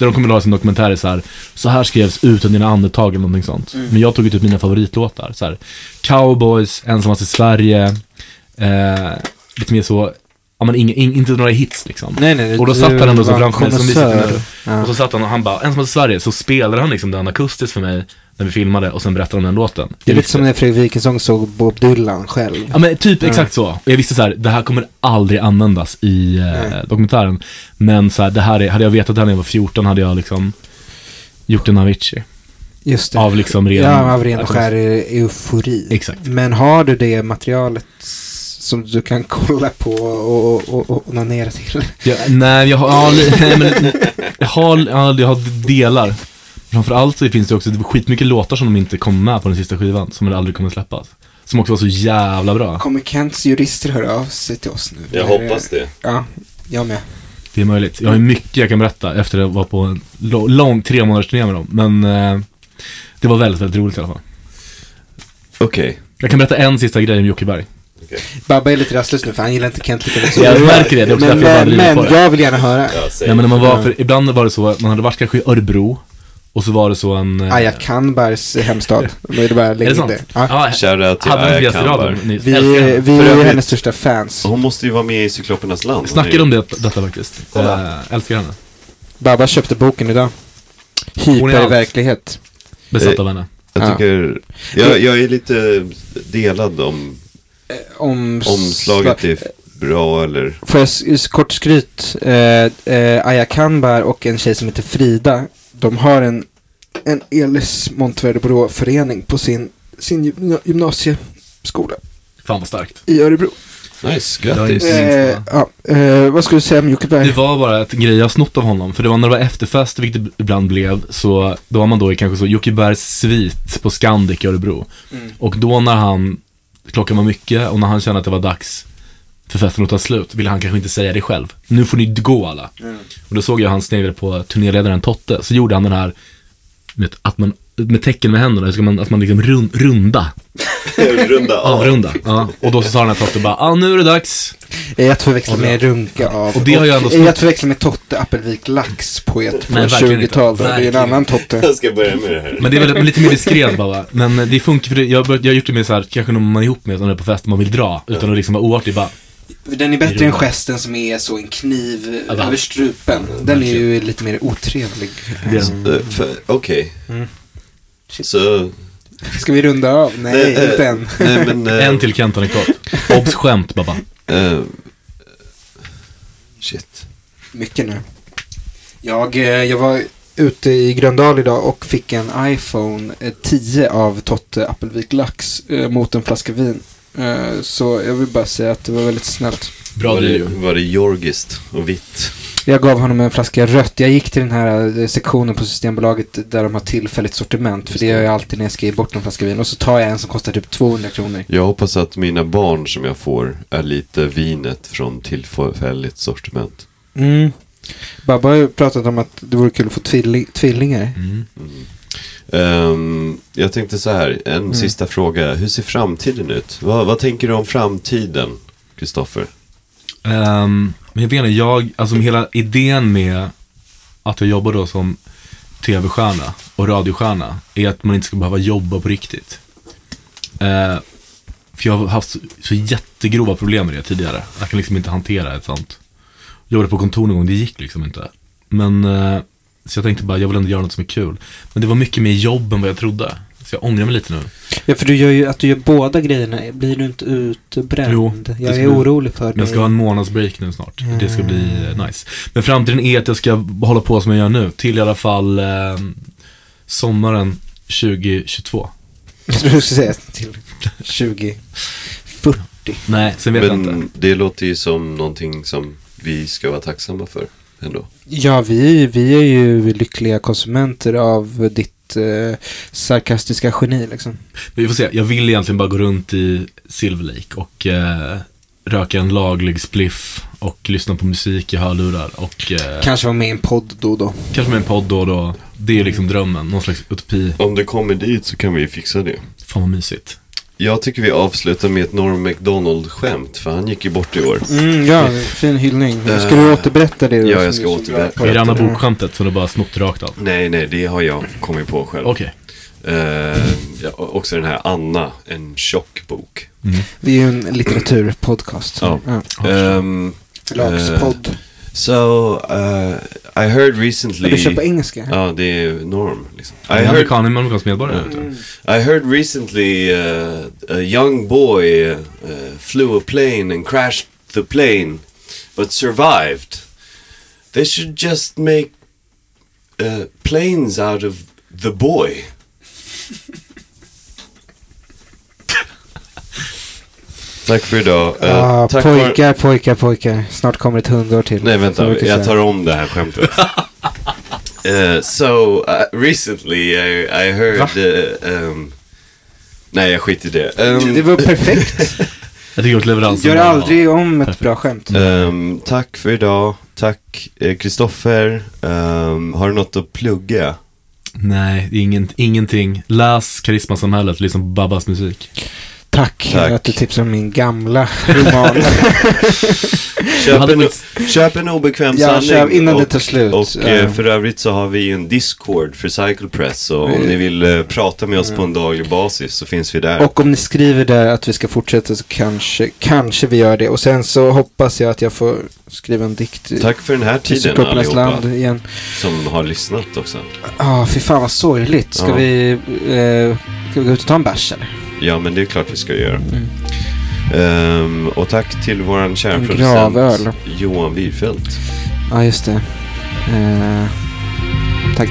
C: de kommer att ha i sin dokumentär är så här, så här skrevs utan dina andetag eller någonting sånt.
B: Mm.
C: Men jag tog ju typ mina favoritlåtar, så här, Cowboys, Ensammast i Sverige, eh, lite mer så, ja men inga, in, inte några hits liksom.
B: Nej, nej.
C: Och då satt han ändå så framför mig som vi sitter
B: med.
C: nu. Och så satt han och han bara, Ensammast i Sverige, så spelade han liksom den akustiskt för mig när vi filmade och sen berättade om den låten.
B: Det är
C: Jag
B: lite
C: visste-
B: som när Fredrik Wikingsson såg Bob Dylan själv.
C: Ja men typ exakt så. Och jag visste så här, det här kommer aldrig användas i eh, dokumentären. Men så här, det här är, hade jag vetat det här när jag var 14 hade jag liksom gjort en Avicii.
B: Just det.
C: Av liksom ren...
B: ja, av ren och
C: alltså,
B: skär eh, eufori.
C: Exakt.
B: Men har du det materialet som du kan kolla på och, och, och, och onanera till?
C: Ja, nej, jag har,
A: (laughs)
C: ja, li- nej, men, jag, har, ja, jag har delar. Framförallt så finns det också skitmycket låtar som de inte kom med på den sista skivan, som aldrig kommer släppas. Som också var så jävla bra.
B: Kommer Kents jurister höra av sig till oss nu?
A: Jag
B: Eller-
A: hoppas det.
B: Ja, jag med.
C: Det är möjligt. Jag har ju mycket jag kan berätta efter att jag var på en lo- lång tre månaders turné med dem. Men eh, det var väldigt, väldigt roligt i alla fall.
A: Okej.
C: Jag kan berätta en sista grej om Jockeberg.
B: Babba är lite rastlös nu för han gillar inte Kent lika mycket som
C: Jag
B: du gör.
C: märker det, det är också
B: Men,
C: därför jag bara
B: men,
C: driver på
B: men
C: det.
B: jag vill gärna höra.
A: Ja, säg.
C: Nej men när man var, för ibland var det så, att man hade varit kanske i Örebro och så var det så en... eh,
B: Aja Kanbars
C: (laughs)
B: hemstad. Då är det bara att
C: är
B: lägga
C: det
B: in
C: sant?
B: det. Ja.
A: Shoutout till
C: Hade den
A: Aya
C: bästa
A: Kambar.
C: raden nyss.
B: Ah. Vi,
C: Älskar henne.
B: vi
A: För
B: är
A: övrigt-
B: hennes största fans.
A: Hon måste ju vara med i Cyklopernas land. Hon är
C: Snackade
A: ju-
C: om det, detta faktiskt.
A: Kolla.
C: Eh, älskar henne.
B: Babba köpte boken idag.
C: Hon är allt.
B: Hyperverklighet.
C: Besatt av henne.
A: Jag
B: Ja.
A: tycker... Jag, jag är lite delad om
B: Om
A: omslaget är bra eller...
B: Får jag s- s- kort skryt? Eh, eh, Aya Kanbar och en tjej som heter Frida, de har en, en Elis Monteverde Borås-förening på sin, sin gymna- gymnasieskola
C: Fan vad starkt.
B: i Örebro.
A: Nice,
C: Det har ju-
A: grattis.
C: Mm.
B: Eh, ja, eh, vad ska du säga om Jockeberg?
C: Det var bara ett grej jag snott av honom, för det var när det var efterfest, vilket det ibland blev, så då var man då i kanske så Jockebergs svit på Scandic i Örebro. Och då när han, klockan var mycket och när han kände att det var dags för festen att ta slut, ville han kanske inte säga det själv. Nu får ni gå alla. Och då såg jag han sneglade på turnéledaren Totte, så gjorde han den här, vet, att man, med tecken med händerna, så ska man, att man liksom run, runda,
A: Runda av.
C: avrunda. Ja. Och då så sa den här Totte bara, ah nu är det dags.
B: Är att förväxla
C: Och det-
B: med Runka av.
C: och det har jag ändå
B: är
C: snott.
B: att förväxla med Totte Appelvik Lax, poet på
C: Nej, verkligen inte.
B: 20-talet. Det är en
C: Verkligen
B: annan Totte.
A: Jag ska börja med det här.
C: Men det är väl lite mer diskret bara. va? Men det funkar för det, jag, har börjat- jag har gjort det med så här, kanske någon man är ihop med, när man är på fest, man vill dra, utan att liksom vara oartig bara.
B: Den är bättre än gesten som är så en kniv
C: Ja, va?
B: över strupen. Den är ju lite mer otrevlig.
C: Det är
A: Eh, för- Okej.
C: Mm.
A: Så...
B: Ska vi runda av? Nej,
A: eh,
B: inte än.
A: Nej,
C: (laughs)
A: men... eh,
C: En till Kent-anekdot. Obs skämt Babba.
A: eh, shit.
B: Mycket nu. Jag, eh, jag var ute i Gröndal idag och fick en iPhone eh, 10 av Totte Appelvik Lax eh, mot en flaska vin. Eh, Så jag vill bara säga att det var väldigt snällt.
C: Bra
A: var, det,
C: video.
A: var det jorgiskt och vitt?
B: Jag gav honom en flaska rött. Jag gick till den här eh, sektionen på Systembolaget där de har tillfälligt sortiment. För det gör jag alltid när jag ska ge bort en flaska vin. Och så tar jag en som kostar typ 200 kronor.
A: Jag hoppas att mina barn som jag får är lite vinet från tillfälligt sortiment.
B: Mm. Babba har ju pratat om att det vore kul att få tvilling, tvillingar. (laughs)
C: Mm.
A: Ehm, jag tänkte så här, en
C: Mm.
A: sista fråga. Hur ser framtiden ut? Vad, vad tänker du om framtiden, Kristoffer?
C: Ehm, men jag vet inte, jag, alltså hela idén med att jag jobbar då som tv-stjärna och radiostjärna är att man inte ska behöva jobba på riktigt. Eh, för jag har haft så, så jättegrova problem med det tidigare. Jag kan liksom inte hantera ett sånt. Jag jobbade på kontor någon gång, det gick liksom inte. Men, eh, så jag tänkte bara, jag vill ändå göra något som är kul. Men det var mycket mer jobb än vad jag trodde. Så jag ångrar mig lite nu.
B: Ja, för du gör ju, att du gör båda grejerna. Blir du inte utbränd?
C: Jo, det
B: jag är
C: ska bli-
B: orolig för
C: Men jag ska ha en månadsbreak nu snart. Det ska bli eh, nice. Men framtiden är att jag ska hålla på som jag gör nu. Till i alla fall eh, sommaren 2022.
B: dig. Du ska säga till 20, 40.
C: Nej, sen vet jag inte.
A: Men det låter ju som någonting som vi ska vara tacksamma för ändå.
B: Ja, vi, vi är ju lyckliga konsumenter av ditt eh, sarkastiska geni liksom.
C: Vi får se. Jag vill egentligen bara gå runt i Silver Lake och eh, röka en laglig spliff och lyssna på musik i hörlurar och eh,
B: Kanske vara med i en podd då och då.
C: kanske med en podd då och då. Det är liksom drömmen. Någon slags utopi.
A: Om du kommer dit så kan vi fixa det.
C: Fan vad mysigt.
A: Jag tycker vi avslutar med ett Norm McDonald-skämt, för han gick ju bort i år.
B: Mm, ja, fin hyllning. Eh, Ska du återberätta det? då,
A: ja,
B: som
A: jag ska
B: du är så bra
A: återberätta.
B: på?
C: Är det Anna Book-skämtet som du bara snott rakt av?
A: Nej, nej, det har jag kommit på själv.
C: Okej.
A: Eh, ja, och- också den här Anna, en tjock bok.
B: Vi är ju en litteraturpodcast.
A: Ja. Eh, Ehm,
B: Förlagspodd.
A: so, eh, I heard recently...
B: Ska du köpa engelska?
A: Ja, det är norm. Liksom. I,
C: Är
A: heard,
C: amerikan, är man amerikansk medborgare?
B: Mm.
A: I heard recently uh, a young boy uh, uh, flew a plane and crashed the plane, but survived. They should just make uh, planes out of the boy. Tack för idag. Eh,
B: ah,
A: tack Vare...
B: pojkar, pojkar, pojkar. Snart kommer ett hundår till.
A: Nej,
B: Som
A: vänta.
B: brukar
A: Jag
B: säga.
A: tar om det här
B: (laughs)
A: skämtet. Eh, so, uh, recently I, I heard... eh, um, nej, jag skiter i det. Ehm,
B: Det var perfekt.
E: Jag tycker att
A: Alltså,
E: leveransen
B: Gör
E: var bra.
B: aldrig om ett bra skämt.
A: Ehm, tack för idag. Tack eh, Kristoffer. Ehm, har du något att plugga?
E: Nej, det är ingen, ingenting. Läs Karismasamhället, lyssna på Babbas musik.
B: Tack,
A: Tack.
B: att du tipsade om min gamla
A: (laughs)
B: roman.
A: Köp
E: hade
A: en,
E: mitt-
A: köp en obekväm
B: Ja,
A: sanning.
B: köp innan
A: och,
B: det tar slut.
A: Och
B: Ja.
A: eh, för övrigt så har vi ju en Discord för Cycle Press. Och
B: Mm.
A: om ni vill eh, prata med oss på en daglig basis så finns vi där.
B: Och om ni skriver där att vi ska fortsätta så kanske, kanske vi gör det. Och sen så hoppas jag att jag får skriva en dikt i-
A: Tack för den här tiden
B: till Cyklopernas
A: allihopa
B: land igen.
A: som har lyssnat också.
B: Ja, fy fan vad sorgligt. Ska
A: Ja.
B: vi, eh, ska vi gå ut och ta en bärs eller?
A: Ja, men det är klart vi ska göra. Ehm, och tack till våran kära
B: Mm. En
A: producent
B: gravöl.
A: Johan Wirfelt.
B: Ja, just det. Eh, tack.